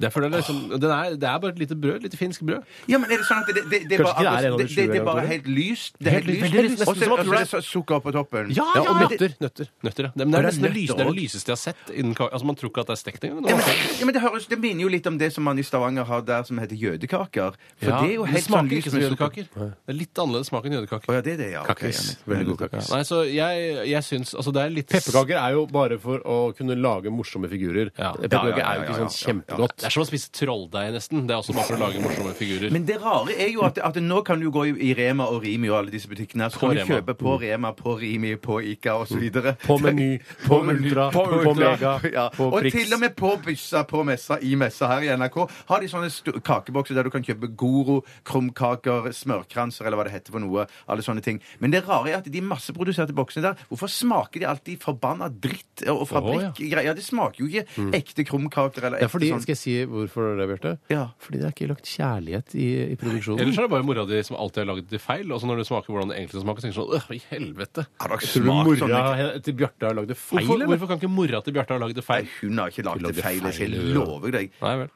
Det er, fordi det er liksom, den er, det er bare et lite brød. Et lite finsk brød.
Ja, men er det sånn at det, det, det, er
Kanskje ikke
bare,
det er en av de
det, det, det er
sju
bare
eller noe?
helt lyst? Det er helt lyst.
Men det er nesten
Og så-
som at
og så
du er-
er det så- sukker på toppen.
Ja,
og
ja.
nøtter. nøtter.
Nøtter, ja. Det, men det er
det er
nesten det,
nøtter
lyse, det, er det
også.
lyseste jeg har sett. Innen, ka- altså, man tror ikke at det er stekt engang.
Ja, men, ja, men det, høres, det minner jo litt om det som man i Stavanger har der som heter jødekaker. For det er jo helt sånn
smaker ikke
lyst
som
med sukker.
jødekaker. Det er litt annerledes smak enn jødekaker.
Å ja, det er det, ja. ok,
Kakkis.
ja, men- Veldig god kakkis.
Nei, så jeg, jeg syns Altså, det er litt
Pepperkaker er jo bare for å kunne lage morsomme figurer.
Ja.
Pepperkaker
Ja, ja,
er jo
ja,
ikke
ja,
sånn
ja, ja.
kjempegodt.
Det er som å spise trolldeig, nesten. Det er også bare for å lage morsomme figurer.
Men det rare er jo at, at nå kan du gå i, i Rema og Rimi og alle disse butikkene. her, Så
På
kan du
Rema.
kjøpe på Rema, på Rimi, på Ica osv.
Mm. På Meny, på Ultra, på, Mega,
ja.
på
Og
Prix.
til og med på busser på messa i messa her i NRK har de sånne sto- kakebokser der du kan kjøpe Goro, krumkaker, smørkranser eller hva det heter for noe. Alle sånne ting. Men det rare er at de masseproduserte boksene der, hvorfor smaker de alltid forbanna dritt og fabrikkgreier? Ja, det smaker jo ikke ekte krumkaker eller
Det er
ekte
Mm. fordi,
sånn
Skal jeg si hvorfor det, Bjarte?
Ja.
Fordi det er ikke lagt kjærlighet i, i produksjonen.
Ellers er det bare mora di som alltid har laget det feil. Og så når du smaker hvordan det egentlig smaker, så tenker du sånn «Åh, i helvete.
Har
Tror
dere
du
smakt sånn?
mora til Bjarte har lagd det feil,
Hvorfor,
eller?
hvorfor kan ikke mora til Bjarte ha laget det
Nei,
feil?
hun har ikke lagd det feil. Jeg lover deg.
Nei vel.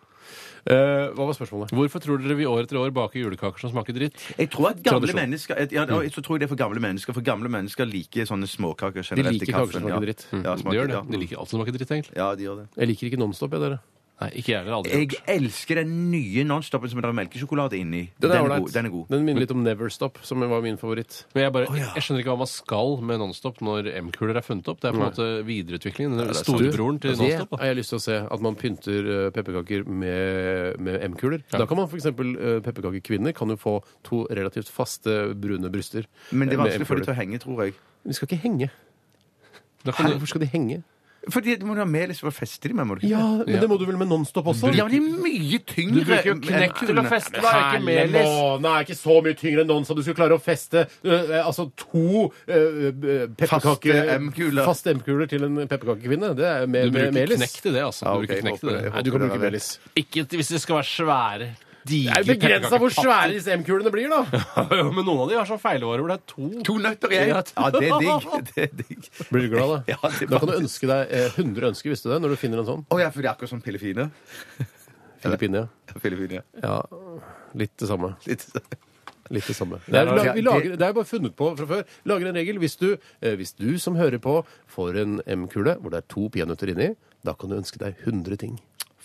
Eh, hva var spørsmålet?
Hvorfor tror dere vi år etter år baker julekaker som smaker dritt?
Jeg tror at gamle
Tradisjon.
mennesker et- ja, og så tror jeg det er for gamle mennesker, for gamle mennesker liker sånne småkaker generelt.
De liker
i kaffen,
kaker som smaker
ja.
dritt. Mm.
Ja,
De
smaker,
gjør det.
ja.
De liker alt som smaker dritt, egentlig.
Ja, de gjør det.
Jeg liker ikke Nonstop, jeg, dere.
Nei, ikke jeg heller. Aldri.
Jeg
gjort.
elsker den nye Nonstopen som det er melkesjokolade inni. god. Den er god.
Den minner litt om Neverstop, som var min favoritt.
Men jeg, bare, jeg skjønner ikke hva man skal med Nonstop når M-kuler er funnet opp. Det er på en måte videreutviklingen. Den storebroren til
Det har
Nonstop. Da.
jeg lyst til å se. At man pynter eh, pepperkaker med, med M-kuler.
Ja.
Da kan man f.eks. pepperkakekvinner kan jo få to relativt faste brune bryster.
Men det er
eh, med
vanskelig for dem
M-kuler.
til å henge, tror jeg.
De skal ikke henge.
Da
Hæ?
kan du,
Hvorfor skal de henge?
Fordi du må jo ha melis for å feste dem med, må du ikke?
Ja, men
Ja.
det må du vel med Nonstop også?
ja, men de er mye
du
tyngre.
bruker jo
enn
knekk til å
kulene.
feste, da, ikke melis.
måne er ikke så mye tyngre enn Nonstop. Du skulle klare å feste eh, altså to eh, pepperkake-
M-kuler.
faste M-kuler til en pepperkakekvinne. Det er
Du
med, med
bruker
melis.
knekk til det, altså.
Ja,
Du bruker
ok,
knekk til
håper
det.
det.
Nei, du kan bruke melis.
Ikke hvis det skal være svære, digre
Det er jo begrensa hvor svære disse M-kulene blir, da!
pepperkakepakker. Men noen av de har sånn feilåre hvor det er to.
To nøtter i
Ja.
en. Ja, det er digg. Det er digg.
Blir du glad, da?
Ja, det er
da kan du ønske deg eh, 100 ønsker, visste du det, når du finner en sånn.
Å ja, for det er akkurat som pillefine.
Filippine, ja.
Pillefine, ja.
ja. Litt det samme.
Litt. sånn.
Litt det samme. Det er,
Ja, altså,
vi
det-
lager, det er bare funnet på fra før. Lager en regel. Hvis du, eh, hvis du som hører på, får en M-kule hvor det er to peanøtter inni, da kan du ønske deg 100 ting.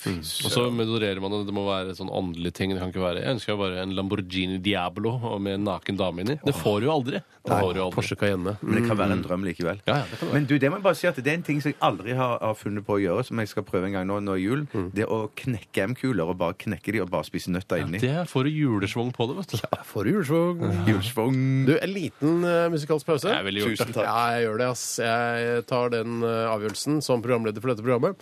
Og så modererer man det. Det må være sånn åndelige ting. Det kan ikke være Jeg ønsker meg bare en Lamborghini Diablo og med en naken dame inni. Det får du jo aldri. Det får du jo aldri.
Porsche Cayenne.
Men det kan være en drøm likevel.
Mm, Ja, ja, det kan være.
Men du, det må jeg bare si at det er en ting som jeg aldri har, har funnet på å gjøre, som jeg skal prøve en gang nå når jul.
Mm.
Det å knekke M-kuler og bare knekke de og bare spise nøtter inni.
Det får du julesvung på det, vet du.
Forrige julesvog.
Julesvung.
Du, en liten eh, musikalsk pause.
Jeg ville gjort det.
Tusen takk. Ja, jeg gjør det, ass. Jeg tar den eh, avgjørelsen som programleder for dette programmet.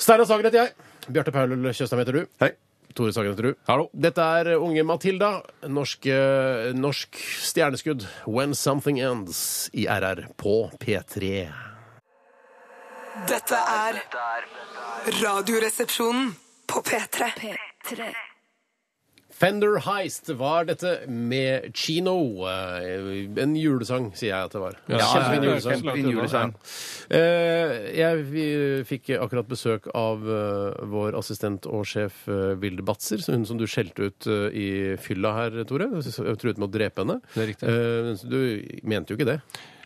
Steinar Sagen heter jeg. Bjarte Paul Tjøstheim heter du.
Hei.
Tore Sagen heter du.
Hallo.
Dette er unge Matilda. Norsk, eh, norsk stjerneskudd. When Something Ends i RR på P3.
Dette er Radioresepsjonen på P3.
P3.
Fender Heist var dette med Chino. Eh, En julesang, sier jeg at det var. Kjempefin
ja,
julesang.
ja, ja.
Kjempefin julesang.
Eh, Jeg vi fikk akkurat besøk av eh, vår assistent og sjef eh, Vilde Batzer, så hun som du skjelte ut eh, i fylla her, Tore. Du s- Truet med å drepe henne.
Det er riktig.
Eh, så Du mente jo ikke det.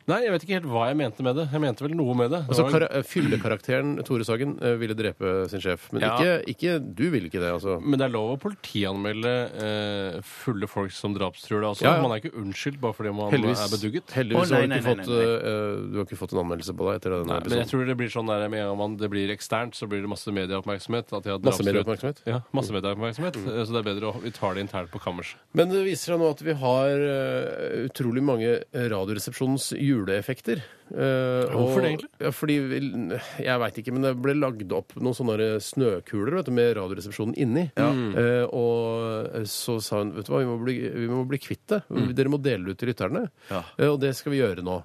Nei, jeg vet ikke helt hva jeg mente med det. Jeg mente vel noe med det. Det
Altså,
var-
kara- eh, Fyllekarakteren Tore Sagen eh, ville drepe sin sjef, men
Ja.
ikke, ikke Du ville ikke det, altså.
men det er lov å politianmelde eh, fulle folk som drapstruer. da, Altså.
Ja, ja.
Man er ikke unnskyldt bare fordi man
Heldigvis,
er bedugget.
heldigvis
Å,
har
nei,
du,
nei,
ikke
nei,
fått,
nei, nei.
eh, du har ikke fått en anmeldelse på deg etter denne
Nei, men jeg
episoden.
tror det blir sånn der, med en gang man, det blir eksternt, så blir det masse medieoppmerksomhet. At jeg har
Masse
drapstruet-
medieoppmerksomhet? Mm.
Ja, masse medieoppmerksomhet. Så det er bedre å vi tar det internt på kammerset.
Men det viser seg nå at vi har eh, utrolig mange Radioresepsjonens juleeffekter. Eh,
Hvorfor
og-
det egentlig?
Ja, fordi vi, Jeg veit ikke, men det ble lagd opp noen sånne der snøkuler vet du, med Radioresepsjonen inni. Eh, og så sa hun vet du hva, vi må bli, vi må bli kvitt det. Dere må dele det ut til lytterne. Eh, og det skal vi gjøre nå.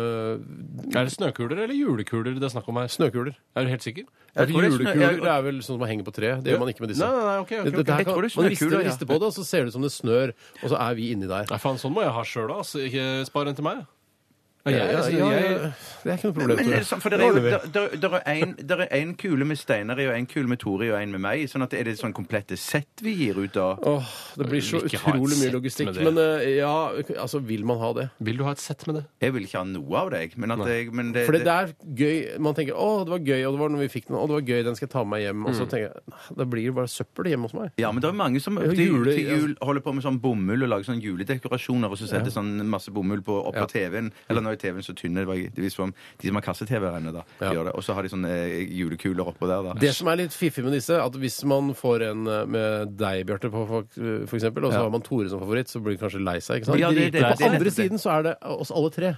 Eh,
Er det snøkuler eller julekuler det er snakk om her?
snøkuler.
Er du helt sikker?
Jeg
tror det er snø-
julekuler
jeg-
det er vel sånn som man henger på tre. Det gjør man ikke med disse.
Nei, nei, nei, ok, ok, ok.
Dette her
Jeg tror det er
kan- man rister,
snøkuler, ja.
rister på det, og så ser det ut som det snør, og så er vi inni der.
Nei, faen, sånn må jeg ha sjøl, altså. Ikke spar en til meg. Nei, jeg,
Ja,
altså,
ja, ja,
jeg,
det er ikke noe problem.
Men
Tore.
er det sånn, for det er jo der, der, der er en, der er en kule med Steinar i, og en kule med Tore i, og en med meg i. Sånn at er det sånn komplette sett vi gir ut da?
Åh, det blir så
Vil ikke ha et
utrolig mye
sett
logistikk.
med det.
Men eh, ja, altså, vil man ha det?
vil du ha et sett med det?
Jeg vil ikke ha noe av deg, men at jeg men det,
For det er gøy. Man tenker 'Å, det var gøy', og det var når vi fikk den, og det var gøy, den skal jeg ta med meg hjem. Og så tenker jeg "Nei, det blir bare søppel hjemme hos meg.
Ja, men det er mange som
Ja,
til,
jule- altså-
til jul holder på med sånn bomull og lager sånn juledekorasjoner, og så setter sånn masse bomull på, opp på TV-en. Eller nå er TV-en så tynn, det var det viser om de som har kasse-TV her ennå, da,
Ja.
gjør det. Og så har de sånne eh, julekuler oppå der, da.
Det som er litt fiffig med disse, at hvis man får en eh, med deg, Bjarte, på fak- for eksempel, og så har man Tore som favoritt, så blir han kanskje lei seg. ikke sant?
Ja, det- det-
på
det-
andre
det-
siden så er det oss alle tre.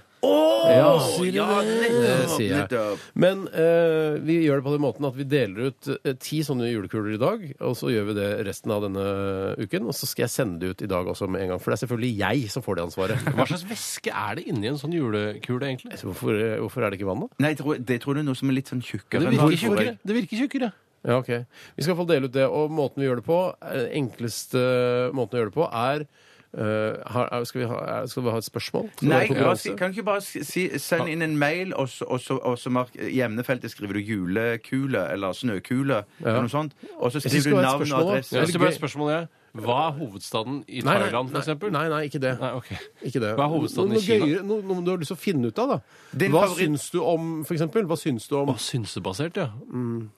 Ja,
Åh, ja,
det
nettopp,
sier jeg.
nettopp.
Men eh, vi gjør det på den måten at vi deler ut eh, ti sånne julekuler i dag, og så gjør vi det resten av denne uken. Og så skal jeg sende det ut i dag også med en gang, for det er selvfølgelig jeg som får det ansvaret.
Hva slags væske er det inni en sånn julekule, egentlig?
Så Hvorfor, eh, hvorfor er det ikke vann, da?
Nei, jeg tror, det tror du er noe som er litt sånn tjukkere.
Det
enn
virker
vanlig, tror jeg.
tjukkere. Det virker tjukkere.
Ja, ok. Vi skal i hvert fall dele ut det, og måten vi gjør det på, eh, enkleste måten å gjøre det på, er eh, har, er- skal, vi ha, er- skal vi ha et spørsmål? Skal vi ha
Nei,
en
bare, si-
konkurranse?
kan du ikke bare si- si, send inn en mail, og så, og så, og så mark, i emnefeltet skriver du julekule eller snøkule, eller noe sånt, og så
Jeg synes
skriver du
det var et
navn
spørsmål,
og
da.
adresse.
Jeg
Ja,
har bare et spørsmål, jeg. Hva er hovedstaden
Nei,
i
nei,
Thailand, for eksempel?
Nei, nei, ikke det.
Nei, ok.
Ikke det.
Hva er hovedstaden
Noe
i Kina?
Gøyere, noe, noe du har lyst til å finne ut av, da.
Din
Hva
favoritt-
syns du om, for eksempel? Hva syns du om
Hva synsebasert, ja.
Mm.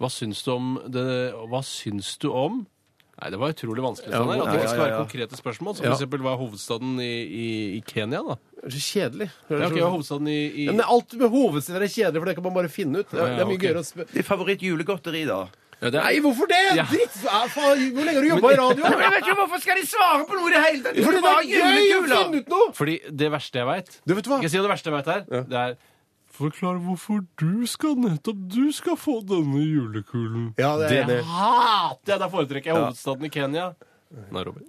Hva syns du om det Hva syns du om Nei, det var utrolig vanskelig.
Ja,
Sånn her, at
ja,
det ikke skal
ja,
være
ja.
konkrete spørsmål. Som
Ja.
for eksempel hva er hovedstaden i, i, i Kenya, da?
Så kjedelig.
Ja, ok, hva er hovedstaden i, i...
Ja, men alt med hovedsteder er kjedelig, for det kan man bare finne ut. Det er, det er mye
ok.
gøyere å spørre
Det er favorittjulegodteri, da.
Ja, det er-
Nei, hvorfor det?
Ja.
Dritt! Ja, faen, hvor lenge har du jobba i radio?
Jeg vet ikke hvorfor skal de svare på noe i det hele tatt!
Fordi det er gøy å finne ut noe!
Fordi det verste jeg veit
Du vet hva?
Skal jeg si det verste jeg vet her? Det er Forklar hvorfor du skal nettopp du skal få denne julekulen.
Ja, det er
det
enig.
hater jeg! Da foretrekker jeg hovedstaden i Kenya. Nairobi.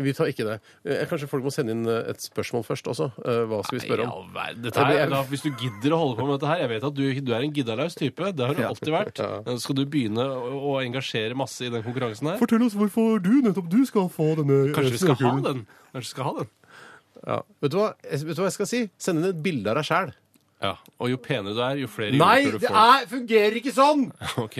Vi tar ikke det. Eh, Kanskje folk må sende inn eh, et spørsmål først også. Eh, Hva skal vi spørre om?
Ja, dette her,
Det blir-
da, hvis du gidder å holde på med dette her Jeg vet at du, du er en giddalaus type. Det har du alltid vært. Eh, Skal du begynne å, å engasjere masse i den konkurransen her?
Fortell oss hvorfor du nettopp du skal få denne
Kanskje vi skal ha den? Kanskje vi skal ha den?
Ja. Vet, du hva? Jeg- vet du hva jeg skal si? Send inn et bilde av deg sjæl.
Ja. Og jo penere du er, jo flere
Nei,
julekuler du
det
får.
er, fungerer ikke sånn!
Ok.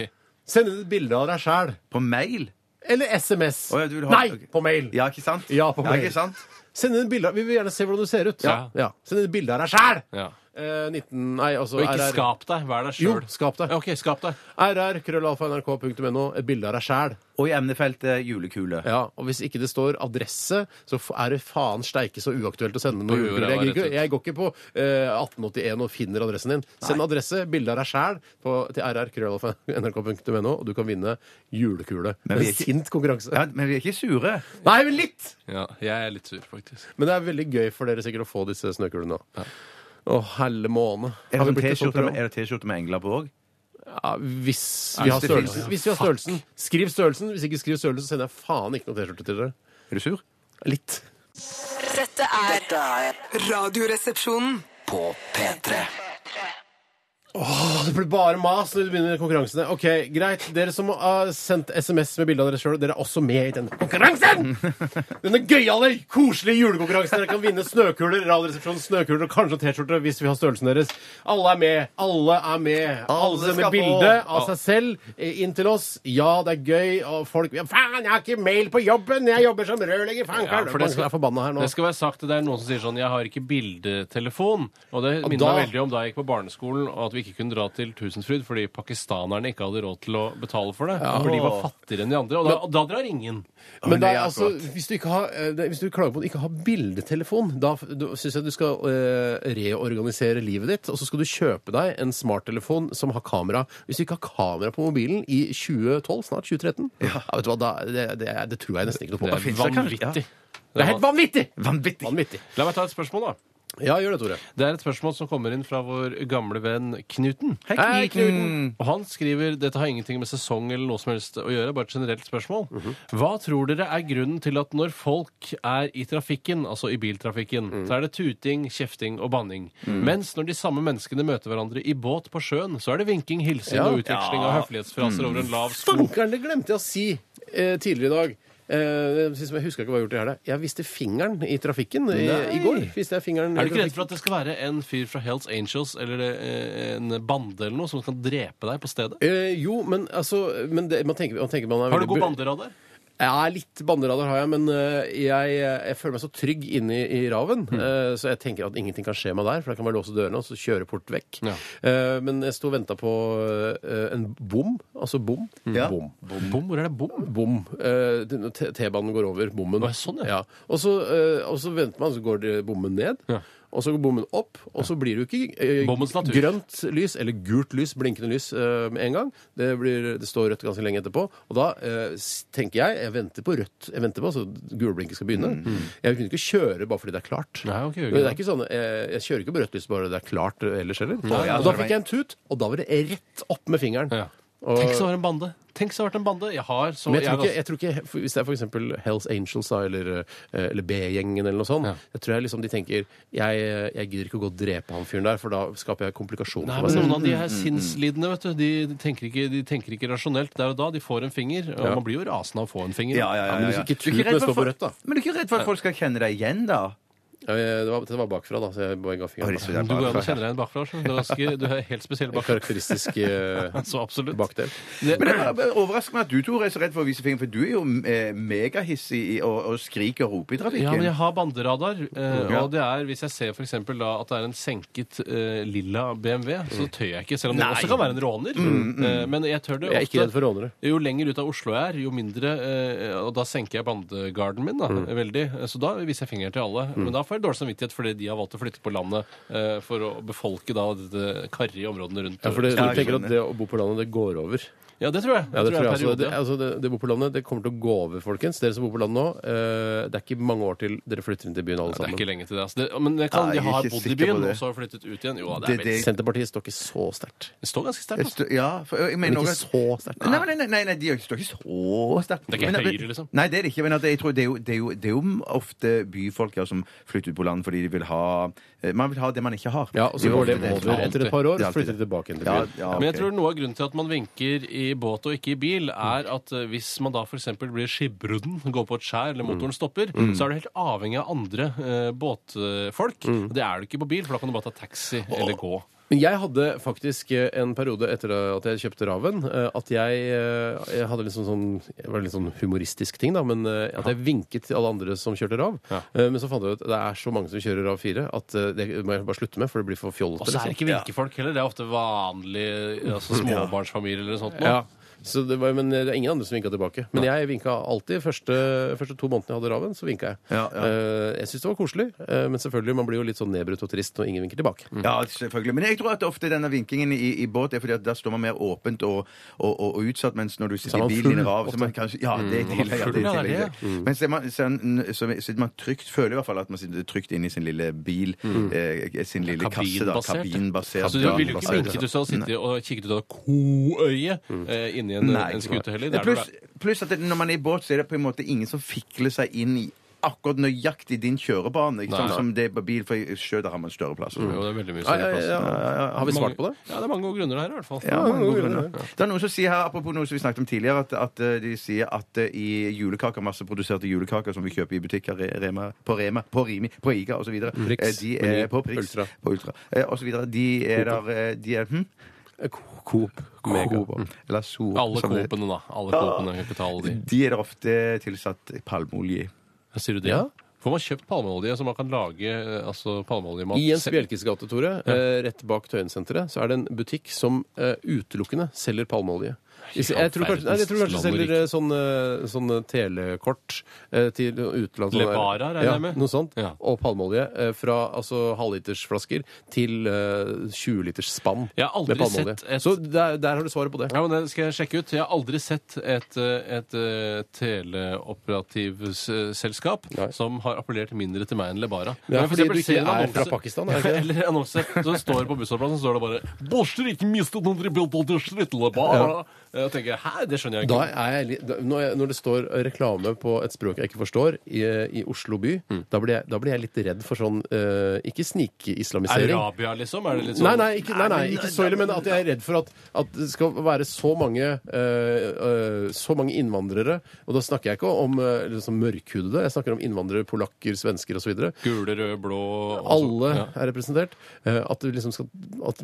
Send inn et bilde av deg sjæl.
På mail?
Eller SMS.
Å, ja, du vil ha-
Nei,
ok.
på mail.
Ja, ikke sant?
Ja, på mail.
ikke sant?
Send inn et bilde. av- Vi vil gjerne se hvordan du ser ut.
Ja.
Send inn et bilde av deg sjæl!
Ja.
Eh, 19 Nei, altså
Og ikke
RR.
skap deg. Vær deg
Jo,
sjøl.
skap deg.
OK, skap deg.
RR, krøllalfa.nrk.no. Et bilde av deg sjæl.
Og i emnefeltet julekule.
Ja, og hvis ikke det står adresse, så f- er det faen steike så uaktuelt å sende noe
Jo, jo,
julegave.
det var
Jeg, gidder
rett
ikke- jeg går ikke på eh, 1881 og finner adressen din. Send adresse, bilde av deg sjæl, på- til rr.krøllalfa.nrk.no, og du kan vinne julekule.
Men
En
vi er ikke-
sint konkurranse.
Ja, men vi er ikke sure.
Nei, men litt!
Ja, jeg er litt sur, faktisk.
Men det er veldig gøy for dere sikkert å få disse snøkulene. da. Å, helle måne.
Er
Har vi
det sånn
blitt et sånt
T-skjorte med-
program?
er det T-skjorte med engler på òg?
Ja, hvis vi har
det finnes,
størrelsen.
ja.
Hvis vi har størrelsen. Skriv størrelsen. Hvis ikke skriv størrelsen, så sender jeg faen ikke noe T-skjorte til dere.
Er du sur?
Litt.
Dette er Radioresepsjonen.
På P3.
Åh, det blir bare mas når du begynner konkurransene. Ok, Greit. Dere som har sendt SMS med bilde av dere sjøl, dere er også med i denne konkurransen! Denne gøyale, koselige julekonkurransen. Dere kan vinne snøkuler, Radioresepsjonens snøkuler og kanskje en T-skjorte hvis vi har størrelsen deres. Alle er med. Alle er med. Alle
Alle
sender
skal
bilde
få.
av seg selv eh, inn til oss. Ja, det er gøy, og folk ja, Faen, jeg har ikke mail på jobben! Jeg jobber som rørlegger! Faen,
Ja, for det skal-
jeg er forbanna her nå.
Det skal være sagt, det er noen som sier sånn 'jeg har ikke bildetelefon'. Og det minner
da-
meg veldig om da jeg gikk på barneskolen og at vi ikke kunne dra til Tusenfryd fordi pakistanerne ikke hadde råd til å betale for det. For de var fattigere enn de andre. Og da, og da drar ingen.
Men
men
da,
det er
altså,
akkurat.
hvis, du ikke har, eh, det- hvis du klager på at du ikke har bildetelefon, da syns jeg du skal eh, reorganisere livet ditt, og så skal du kjøpe deg en smarttelefon som har kamera. Hvis du ikke har kamera på mobilen i 2012, snart 2013, ja. vet du hva, da, det, det, er- det tror jeg nesten ikke noe på.
Det
Det
er
er,
finnes det kanskje-
vanvittig.
helt vanvittig!
Vanvittig.
Vanvittig.
La meg ta et spørsmål, da.
Ja, gjør det, Tore.
Det er et spørsmål som kommer inn fra vår gamle venn Knuten.
Hei,
Knuten. Og han skriver dette har ingenting med sesong eller noe som helst å gjøre, bare et generelt spørsmål. Hva tror dere er grunnen til at når folk er i trafikken, altså i biltrafikken, så er det tuting, kjefting og banning, mens når de samme menneskene møter hverandre i båt på sjøen, så er det vinking, hilsing
Ja.
og utveksling av høflighetsfraser over en lav sko?
Fankeren, det glemte jeg å si eh, tidligere i dag. Eh, sist- jeg husker ikke hva jeg har gjort i helga. Jeg viste fingeren i trafikken eh, i, i går. Viste jeg fingeren
Er
i
du ikke redd
trafikken.
for at det skal være en fyr fra Hells Angels eller eh, en bande eller noe som kan drepe deg på stedet?
Eh, jo, men altså men det, man, tenker, man tenker man er
Har du
veldig
god
bu-
banderadar?
Ja, litt banderadar har jeg, men eh, jeg, jeg føler meg så trygg inne i, i raven. eh, så jeg tenker at ingenting kan skje meg der, for da kan man låse dørene og så kjøre port vekk.
Ja.
Eh, men jeg sto og venta på eh, en bom. Altså bom.
Ja.
Bom.
Bom, hvor er det bom?
Bom. Eh, den- T- T-banen går over bommen.
Å, sånn, ja.
Og så, eh, og så venter man, så går det- bommen ned.
Ja.
Og så går bommen opp, og så blir det jo ikke eh,
Bommens natur.
grønt lys, eller gult lys, blinkende lys, eh, med en gang. Det, blir, det står rødt ganske lenge etterpå. Og da eh, s- tenker jeg jeg venter på rødt, jeg venter på altså gulblinket skal begynne. Jeg kunne ikke kjøre bare fordi det er klart.
Mm. Nei, ok, ok.
Men det er ikke sånn, eh, jeg kjører ikke på rødt lys bare det er klart eh, ellers heller. og
ja,
da
skjønner
fikk jeg en tut, og da var det rett opp med fingeren.
Ja.
Og-
Tenk så har en bande. Tenk så har vært en bande. Jeg har så
Men jeg tror,
jeg
ikke, jeg tror ikke, for Hvis det er for eksempel Hells Angels da, eller, eh, eller B-gjengen eller noe sånt,
Ja.
jeg tror jeg liksom de tenker jeg, jeg gidder ikke å gå og drepe han fyren der, for da skaper jeg komplikasjoner
Nei,
for meg
men
selv.
Noen av de her
mm,
sinnslidende vet du, de, de, tenker ikke, de tenker ikke rasjonelt der og da. De får en finger. Og Man blir jo rasende av å få en finger.
Ja, ja, ja,
men
ja,
hvis
ja.
ikke
Du er
tuten
redd
står
for-
på rødt, da?
Men du er ikke redd for at folk skal kjenne deg igjen, da?
Ja, jeg- Det var, det var bakfra, da, så jeg bare ga
Oi,
fingeren.
så det er
Du går
bare-
an å kjenne deg igjen bakfra. skjønner Du Du er ganske, du er helt spesiell
En
bakfra.
Karakteristisk eh,
Så absolutt.
bakdel.
Men det er bare overrasker meg at du Tore, er så redd for å vise fingeren, for du er jo eh, megahissig i- og, og skriker og roper i
Ja,
trafikken.
men jeg har banderadar. eh,
Ja.
Og det er hvis jeg ser for eksempel da at det er en senket eh, lilla BMW, så
Mm.
tør jeg ikke. Selv om det
Nei.
også kan være en råner. Eh, men jeg tør det
Jeg er ikke
ofte.
redd for rånere.
Jo lenger ut av Oslo jeg er, jo mindre eh, Og da senker jeg bandegarden min da, veldig. Så da viser jeg fingeren til alle. Men da får jeg dårlig samvittighet fordi de har valgt å flytte på landet eh, for å befolke da dette karrige områdene rundt.
Ja, for det,
Ja,
du
jeg
tenker at
skjønner.
det å bo på landet, det går over.
Ja, det tror jeg.
Ja, det tror jeg
er
altså, det,
periode.
altså det, det bor på landet, det kommer til å gå over, folkens. Dere som bor på landet nå, eh, det er ikke mange år til dere flytter inn til byen alle
det er
sammen.
ikke lenge til det. Altså. det men det kan,
Nei,
de
jeg er
har
ikke
bodd i
sikker på
byen
det.
og så har flyttet ut igjen. Jo, det,
Det-
er
det-
veldig-
Senterpartiet står ikke så sterkt.
det står ganske sterkt.
Jeg
altså.
stø- Ja, for jeg
Men
mener
ikke
også at-
så sterkt.
Nei, nei, nei, nei, nei, de er ikke- står ikke så sterkt.
Det er ikke
Men-
Høyre, liksom.
Nei, det er det ikke. Men at jeg tror det er, jo, det, er jo, det er jo ofte byfolk ja, som flytter ut på land fordi de vil ha eh, Man vil ha det man ikke har.
Ja, og så
er jo
går det
ofte som
over
er-
etter et par år, så
Det er alltid
flytter de tilbake igjen til
Ja,
byen.
ja,
Men jeg
ok.
tror noe av grunnen til at man vinker i båt og ikke i bil, er at eh, hvis man da f.eks. blir skipbrudden, går på et skjær
Mm.
eller motoren stopper, så er du helt avhengig av andre eh, båtfolk.
Mm.
Det er du ikke på bil, for da kan du bare ta taxi eller gå.
Men jeg hadde faktisk eh, en periode etter at jeg kjøpte Raven, eh, at jeg, eh, jeg hadde liksom sånn Det var litt sånn humoristisk ting, da, men eh, at jeg vinket til alle andre som kjørte Rav.
Ja.
Eh, Men så fant jeg ut at det er så mange som kjører Rav 4 at eh, det må jeg bare slutte med, for det blir for
Og
fjollete.
så er det
Liksom.
ikke vinkefolk heller. Det er ofte vanlige altså småbarnsfamilier eller noe sånt. Nå.
Mm. Ja. Så det var, men eh, det er ingen andre som vinka tilbake. Men jeg vinka alltid. Første, første to månedene jeg hadde Raven, så vinka jeg.
Ja, ja.
Eh, Jeg syns det var koselig, eh, men selvfølgelig, man blir jo litt sånn nedbrutt og trist når ingen vinker tilbake.
Mm.
Ja, selvfølgelig. Men jeg tror at ofte denne vinkingen i, i båt er fordi at der står man mer åpent og, og, og, og utsatt, mens når du sitter
er
i
man
bilen i
full,
rav, så man kanskje Ja, det er
Mm. man er
tidligere.
full, ja, det er det. Mm.
Men så, er man, så, er man- så sitter man trygt, føler i hvert fall at man sitter trygt inne i sin lille bil, eh, sin lille kasse, da.
Mm. Kabinbasert.
Kabinbasert.
Altså, du ville jo ikke
kabinbasert,
vinket
ja.
hvis du hadde sittet og kikket ut av koøyet
Mm.
eh, inni en,
Nei.
en skute heller. Det er
Pluss
det-
pluss at det, når man er i båt, så er det på en måte ingen som fikler seg inn i akkurat nøyaktig din kjørebane, ikke
Nei.
sant,
Mm.
som det er på bil, for i sjø der har man større plass.
Jo, det er veldig mye
Ja,
større
ja,
plass.
ja, ja. Har vi svart på det?
Ja, det er mange gode grunner her, i hvert fall.
Ja,
mange gode
grunner.
grunner.
Det er noen som sier her, apropos noe som vi snakket om tidligere, at, at eh, de sier at eh, i julekaker, masseproduserte julekaker som vi kjøper i butikker, Re- Rema, på Rema, på Rimi, på Iga osv.
Prix,
eh, De
Meny,
er på Prix,
Ultra.
på Ultra eh, og så videre. De er der eh, De er hm?
Coop. Mega.
Coop, Eller Soop.
Alle
som det-
Coop-ene, da. Alle Coop-ene kan ikke ta alle de.
De er der ofte tilsatt palmeolje. i.
Sier du det?
Ja.
Får man kjøpt palmeolje, så man kan lage eh, altså, palmeoljemat
I Jens
selv?
Bjelkes gate, Tore, eh, rett bak Tøyensenteret, så er det en butikk som eh, utelukkende selger palmeolje. Jeg
Ja,
jeg tror kanskje, nei, jeg tror kanskje de
verdens land og
selger eh, sånne, sånne telekort eh, til utlandet.
Levara, regner jeg
ja,
med?
Noe sånt.
Ja.
Og palmeolje eh, fra altså, halvlitersflasker til eh, 20-liters spann
Jeg har aldri
med palmeolje.
sett et-
Så der, der har du svaret på det.
Ja, men Det skal jeg sjekke ut. Jeg har aldri sett et, eh, et eh, teleoperativselskap
Nei.
som har appellert mindre til meg enn Lebara.
Ja,
Men for
fordi
eksempel
du ikke
ser en
er
annonse-
fra Pakistan, er det ikke det?
Eller annonse som står på bussholdeplassen, så står det bare «Borster ikke mistet noen rebuild av Duslit Lebara». Jeg tenker, hæ, det skjønner jeg
Da
ikke.
er jeg litt, da, når, jeg, når det står reklame på et språk jeg ikke forstår, i, eh, i Oslo by,
Mm.
da, blir jeg, da blir jeg litt redd for sånn eh, Ikke snikislamisering.
Arabia, liksom? Er det litt sånn
Nei, nei, ikke, nei, nei, ikke så ille, men at jeg er redd for at, at det skal være så mange eh, eh, så mange innvandrere. Og da snakker jeg ikke om eh, liksom mørkhudede, jeg snakker om innvandrere, polakker, svensker osv.
Gule, røde, blå og så-
Alle
Ja.
er representert. eh, at, det liksom skal, at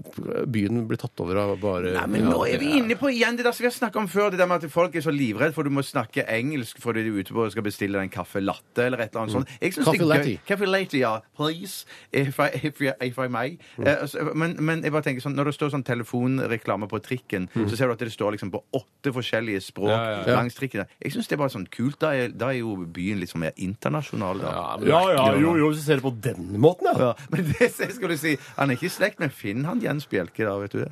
byen blir tatt over av bare
Nei, men nå er vi inne på igjen det der som vi har snakket om før. Det der med at folk er så livredd for du må snakke engelsk fordi du er ute på og skal bestille deg en kaffe latte eller et eller annet sånt. Jeg synes
Caffè
det er gøy-
latte.
Caffè latte, ja. Please. If I, if I, if I may. Eh, altså, men, men jeg bare tenker sånn, når det står sånn telefonreklame på trikken, så ser du at det står liksom på åtte forskjellige språk
Ja, ja,
langs trikken. der. Jeg synes det er bare sånn kult. Da er, da er jo byen litt sånn mer internasjonal da.
jo, hvis du ser det på den måten,
Ja, men det skal du si. Han er ikke i slekt med Finn, han Jens Bjelke, da, vet du det?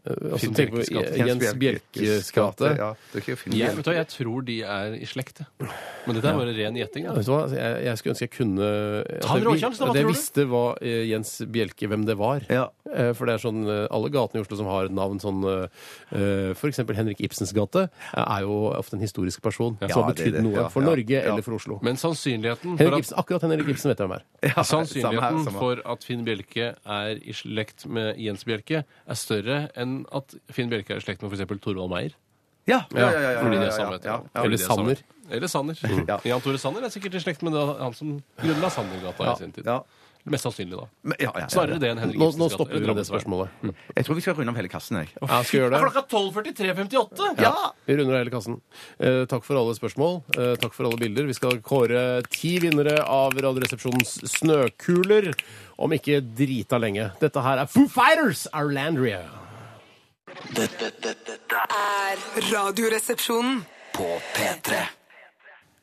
Altså, tenk på Jens Bjelkes gate.
Ja, det er ikke Finn
Jeg,
Bjelke.
vet du, hva, jeg tror de er i slekt, jeg. men dette er bare ren gjetting.
Ja,
Ja.
Vet du hva? Altså, Jeg, jeg skulle ønske jeg kunne altså,
Ta en råsjanse, da, hva
at Jeg
tror du?
visste hva eh, Jens Bjelke, hvem det var.
Ja.
Eh, For det er sånn, eh, alle gatene i Oslo som har et navn sånn eh, eh, For eksempel Henrik Ibsens gate eh, er jo ofte en historisk person som har
det er
betydd
det.
noe
Ja,
for
ja,
Norge
ja.
eller for Oslo.
Men sannsynligheten for
Henrik
at
Ibsen, akkurat Henrik Ibsen vet jeg hvem er.
Ja,
Sannsynligheten
samme her, samme her.
for at Finn Bjelke er i slekt med Jens Bjelke, er større enn at Finn Bjelke er i slekt med f.eks. Torvald Meier.
Ja, ja, ja, ja, ja,
Fordi de
ja,
er samme
ja,
etternavn.
ja, ja.
Fordi de er samme.
Sanner.
Eller Sanner.
Mm. Ja.
Jan Tore Sanner er sikkert i slekt med det- han som grunnla Sannergata i sin tid.
ja.
Mest sannsynlig, da.
Men- ja, ja, ja,
Snarere det enn Henrik
Nå, nå
Ibsens gate,
stopper vi
eller
med det
Drammensveien.
spørsmålet. Mm.
ja. Jeg tror vi skal runde om hele kassen. Jeg.
Ja, skal vi gjøre det?
Klokka 12.43,58!
Vi runder av hele kassen. Eh, takk for alle spørsmål. Eh, takk for alle bilder. Vi skal kåre ti vinnere av Radioresepsjonens snøkuler om ikke drita lenge. Dette her er Foo Fighters Arlandria.
Dette, dette, dette
er Radioresepsjonen.
på P3.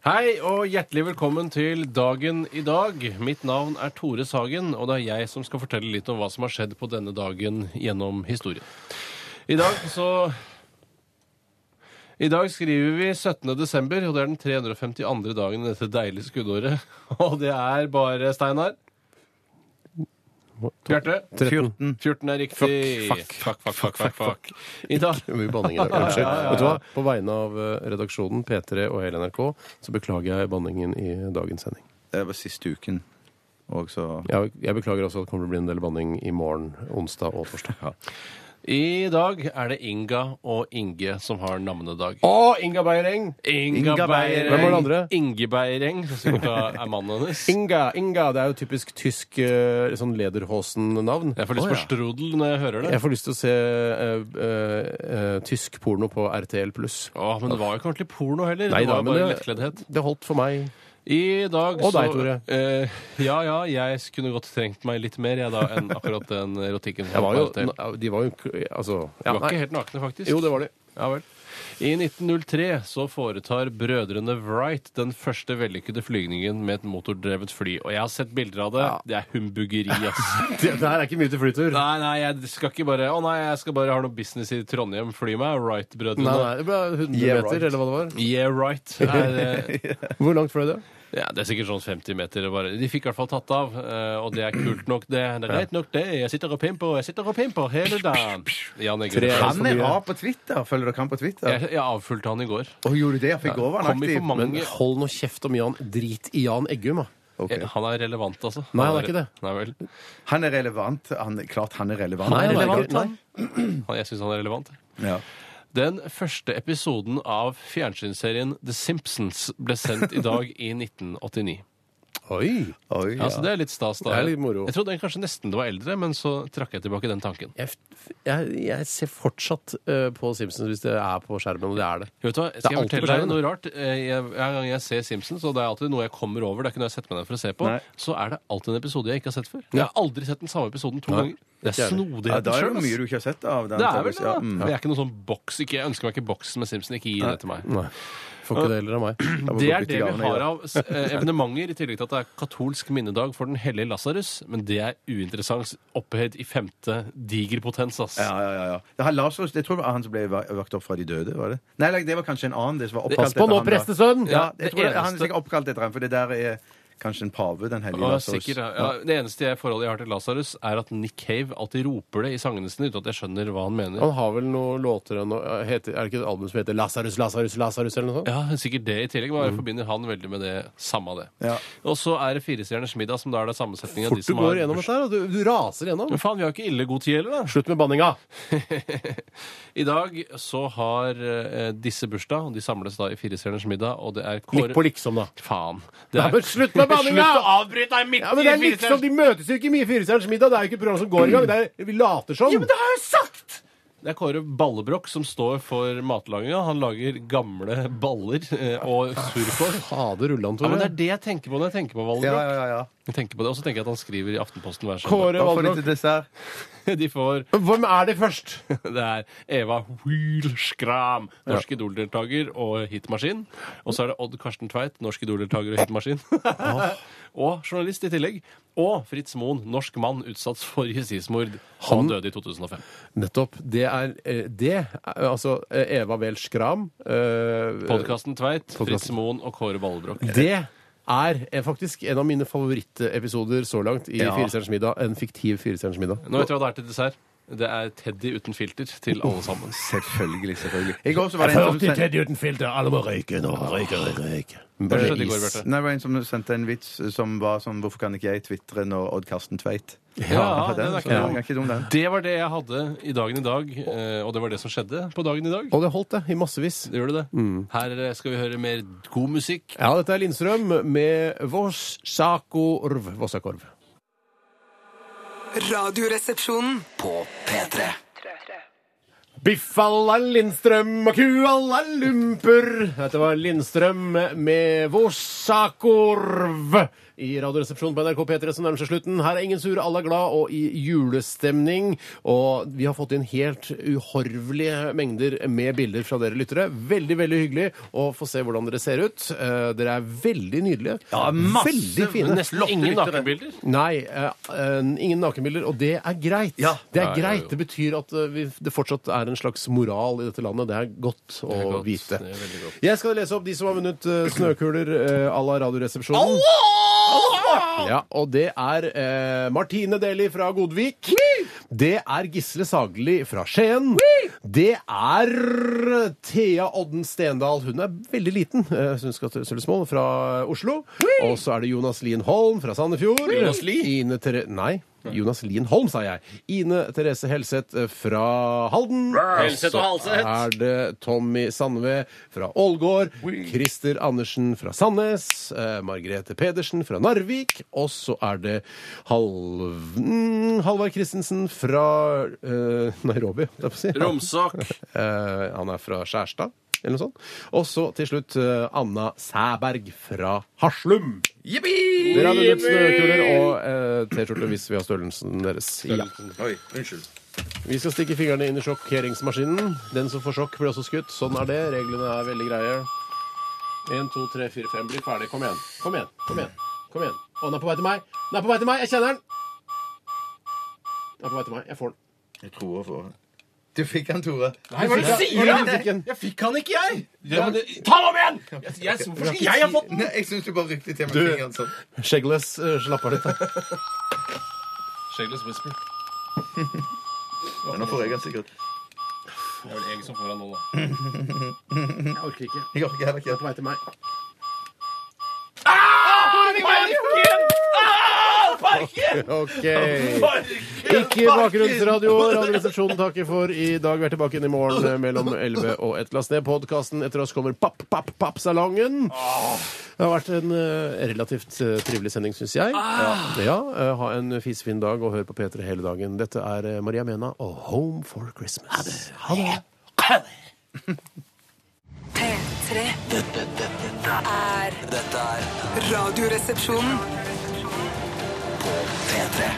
Hei og hjertelig velkommen til dagen i dag. Mitt navn er Tore Sagen, og det er jeg som skal fortelle litt om hva som har skjedd på denne dagen gjennom historien. I dag så I dag skriver vi 17. desember, og det er den 352. dagen i dette deilige skuddåret. Og det er bare Steinar. Bjarte.
13.
14 er riktig.
Fuck,
fuck, fuck, fuck, fuck, fuck. I dag
Mye banning i dag. Unnskyld. Vet du hva? På vegne av eh, redaksjonen, P3 og hele NRK, så beklager jeg banningen i dagens sending.
Det var siste uken. Og så
Jeg, jeg beklager også at det kommer til å bli en del banning i morgen, onsdag og torsdag.
I dag er det Inga og Inge som har navnedag.
Å, Inga Beireng!
Inga Beireng.
Hvem var det andre?
Inge Beireng, som sikkert da er mannen hennes.
Inga, Inga, det er jo typisk tysk eh, sånn lederhosen-navn.
Jeg får lyst på strudel når jeg hører det.
Jeg får lyst til å se eh, eh, eh, tysk porno på RTL pluss.
Å, men det var jo ikke ordentlig porno heller.
Nei
det
da,
var jo
men
bare
det-
lettkleddhet.
Det holdt for meg.
I dag
Og
så
deg, Tore.
eh, ja, ja, jeg kunne godt trengt meg litt mer, jeg da, enn akkurat den erotikken. som
Jeg var
på
jo,
RTL.
de var jo Altså
Vi
ja,
var ikke
nei.
helt nakne, faktisk.
Jo, det var de.
Ja vel. I 1903 så foretar brødrene Wright den første vellykkede flygningen med et motordrevet fly. Og jeg har sett bilder av det. Det er humbuggeri, ass.
Det, her er ikke mye til flytur. Nei,
nei, nei, jeg skal ikke bare Å nei, jeg skal bare ha noe business i Trondheim. Fly meg, Wright-brødrene.
nei, det ble 100
Yeah,
meter,
right.
eller hva det var.
Yeah, right. Er, eh,
Hvor langt fløy det?
Ja, Det er sikkert sånn 50 meter. Bare. De fikk i hvert fall tatt av, eh, og det er kult nok, det. Det er greit nok, det. Jeg sitter og pimper, jeg sitter og pimper hele dagen. Jan Eggum.
Tre.
Han-
Han er rar på Twitter. Følger dere han på Twitter?
Jeg, jeg avfulgte han i går.
Å, gjorde du det? For i går var han
Kom vi for
aktiv.
mange
Men hold nå kjeft om Jan. Drit i Jan Eggum, da.
Ok.
Ja, Eh, Han er relevant, altså.
Nei, han er ikke det.
Nei vel.
Han er relevant. Han, klart han er relevant.
Han er
Det
relevant,
godt.
Han- Jeg syns han er relevant.
Ja.
Den første episoden av fjernsynsserien The Simpsons ble sendt i dag i 1989.
Oi!
Oi, ja.
Altså, det er litt stas, da.
Det er litt moro.
Jeg trodde kanskje nesten det var eldre, men så trakk jeg tilbake den tanken.
Jeg, f- jeg, jeg ser fortsatt eh, på Simpsons hvis det er på skjermen, og det er det.
Vet du hva, skal jeg
alltid
fortelle
forskjell,
deg noe rart? Eh, Jeg, hver gang jeg ser Simpsons, og det er alltid noe jeg kommer over, det er ikke noe jeg setter meg ned for å se på,
Nei.
så er det alltid en episode jeg ikke har sett før. Jeg har aldri sett den samme episoden to ganger. Det
ikke
er
jeg heller.
Ja,
snodigheten
da er det
sjøl.
jo mye du ikke har sett av den.
Det er vel det,
Thomas.
da.
Ja, mm.
Det er ikke noe sånn boks. Ikke, jeg ønsker meg ikke boks med Simpson. Ikke gi det til meg.
Får ikke det heller av meg.
må
Det
gå
er det
bytte
vi
gavene,
har
ja.
av s- eh, evenementer, i tillegg til at det er katolsk minnedag for den hellige Lasarus. Men det er uinteressant opphøyd i femte digerpotens, ass.
Ja, ja, ja, ja. Det her Lazarus, det tror jeg var han som ble va- vakt opp fra de døde, var det? Nei, like, det var kanskje en annen. Det som var oppkalt
Pass på nå,
han, da.
prestesønn!
Ja,
Det
jeg tror det, han er
eneste.
sikkert oppkalt etter ham, for det der er kanskje en pave, den hellige
Ja,
Lazarus.
sikkert, ja. Ja, det eneste jeg forholdet jeg har til Lasarus, er at Nick Cave alltid roper det i sangene sine uten at jeg skjønner hva han mener.
Han har vel noen låter og noe, heter, Er det ikke et album som heter Lasarus, Lasarus, Lasarus eller noe sånt?
Ja, Sikkert det i tillegg.
Mm.
Bare forbinder han veldig med det samme det.
Ja.
Og så er det Firestjerners middag, som da er det sammensetning av de
Fort du
som
går
har
gjennom dette her, og du, du raser gjennom.
Men faen, vi har ikke ille god tid heller, da.
Slutt med banninga!
I dag så har eh, disse bursdag, og de samles da i Firestjerners middag, og det er
Litt på liksom, da.
Faen.
Ja, men slutt med banninga!
Slutt å avbryte deg midt
Ja, men det er
i
liksom, De møtes jo ikke mye i Firestjerners middag. Det er jo ikke et program som går engang. Det er, vi later som.
det har jeg sagt! Det er Kåre Ballebrokk som står for matlaginga. Han lager gamle baller eh, og surkål.
Fader ullan,
Ja, men Det
Tore.
er det jeg tenker på når jeg tenker på Valbrokk.
Ja, ja, ja, ja.
Jeg tenker på det, Og så tenker jeg at han skriver i Aftenposten hver søndag.
Kåre
Hva får de
Valdrak.
til dessert?
De får
Hvem er det først?
Det er Eva Wheelskram, norsk Idol-deltaker og hitmaskin. Og så er det Odd Karsten Tveit, norsk Idol-deltaker og hitmaskin. og journalist i tillegg. Og Fritz Moen, norsk mann utsatt for justismord. Han døde i 2005.
Nettopp. Det er eh, det. er- Altså eh, Eva Wehl Skram. eh,
Podkasten Tveit, Fritz
Podcasten.
Moen og Kåre Ballebrokk.
Det er eh, faktisk en av mine favorittepisoder så langt i Firestjerners middag. En fiktiv Firestjerners middag.
Nå vet du hva det er til dessert. Det er Teddy uten filter til alle sammen.
Selvfølgelig, selvfølgelig. I går så var det en som sendte,
Teddy uten filter, alle må røyke nå. Røyke, røyke, røyke.
Hva skjedde i går, Bjarte?
Nei, det var en som sendte en vits som var sånn Hvorfor kan ikke jeg tvitre når Odd Karsten Tveit?
Ja, den
den,
er
så
ikke
den
dum.
er ikke dum, den.
Det var det jeg hadde i dagen i dag, eh, og det var det som skjedde på dagen i dag.
Og det holdt, det. I massevis.
Gjør det det? Her eh, skal vi høre mer god musikk.
Ja, dette er Lindstrøm med Vossakorv. Vossakorv.
Radioresepsjonen.
På P3.
Biff à la Lindstrøm og ku à la Lumper. Dette var Lindstrøm med Vossakorv i Radioresepsjonen på NRK P3 som nærmer seg slutten. Her er ingen sure, alle er glad og i julestemning. Og vi har fått inn helt uhorvelige mengder med bilder fra dere lyttere. Veldig, veldig hyggelig å få se hvordan dere ser ut. Eh, Dere er veldig nydelige.
Ja, masse-
veldig fine.
men
Nesten ingen
lyttere.
nakenbilder.
Nei, eh, eh, ingen nakenbilder, og det er greit.
Ja.
Det
Ja,
er
ja,
greit.
ja.
Det betyr at eh, vi, det fortsatt er en slags moral i dette landet. Det er godt å
godt.
vite.
Det er veldig godt.
Jeg skal lese opp de som har vunnet eh, snøkuler eh, à la Radioresepsjonen. Ja, og det er eh, Martine Deli fra Godvik. Det er Gisle Sagli fra Skien. Det er Thea Odden Stendal. Hun er veldig liten, eh, så hun skal til Sølvsmål, fra Oslo. Og så er det Jonas Lien Holm fra Sandefjord.
Jonas Lie?
Ine Tere... Nei. Jonas Lien Holm, sa jeg. Ine Therese Helseth eh, fra Halden.
Helseth og Halseth.
Så er det Tommy Sandve fra Ålgård. Christer Andersen fra Sandnes. Eh, Margrethe Pedersen fra Narvik. Og så er det Halv... mm, Halvard Christensen fra eh, Nairobi, holdt jeg på å si.
Romsok.
Eh, han er fra Skjærstad. Eller noe sånt. Og så til slutt eh, Anna Sæberg fra Haslum. Dere har vunnet snøkuler og eh, T-skjorte hvis vi har størrelsen deres. Ja.
Oi, unnskyld.
Vi skal stikke fingrene inn i sjokkeringsmaskinen. Den som får sjokk, blir også skutt. Sånn er det. Reglene er veldig greie. Én, to, tre, fire, fem. Bli ferdig. Kom igjen. Kom igjen. Kom igjen. Kom igjen. Å, den er på vei til meg. Den er på vei til meg. Jeg kjenner den. Den er på vei til meg. Jeg får den.
Jeg tror jeg får den.
Du fikk han, Tore.
Nei, hva er det du sier?
Nei,
da? Jeg fikk han ikke, jeg! Ja, men det, ta den om igjen! Jeg, jeg, hvorfor skal jeg ha fått den?
Nei, jeg syns du bare rykte til med
Du-
fingeren sånn.
Skjeggless uh, slapper litt. da.
Shagless Whisper.
Men nå får jeg den sikkert.
Det er vel jeg som får han nå, da.
Jeg orker ikke.
Jeg orker heller ikke.
vei til meg. Ah! OK. Ikke bakgrunnsradio. Radioresepsjonen takker for i dag. Vi er tilbake igjen i morgen eh, mellom 11 og 1. Last ned podkasten. Etter oss kommer Papp, papp, papp-salongen. Det har vært en eh, relativt eh, trivelig sending, syns jeg. Ja, eh, Ha en fisefin dag og hør på P3 hele dagen. Dette er eh, Maria Mena og Home for Christmas. Ha det.
P3
Dette, dette, dette,
er
dette er
Radioresepsjonen.
P3.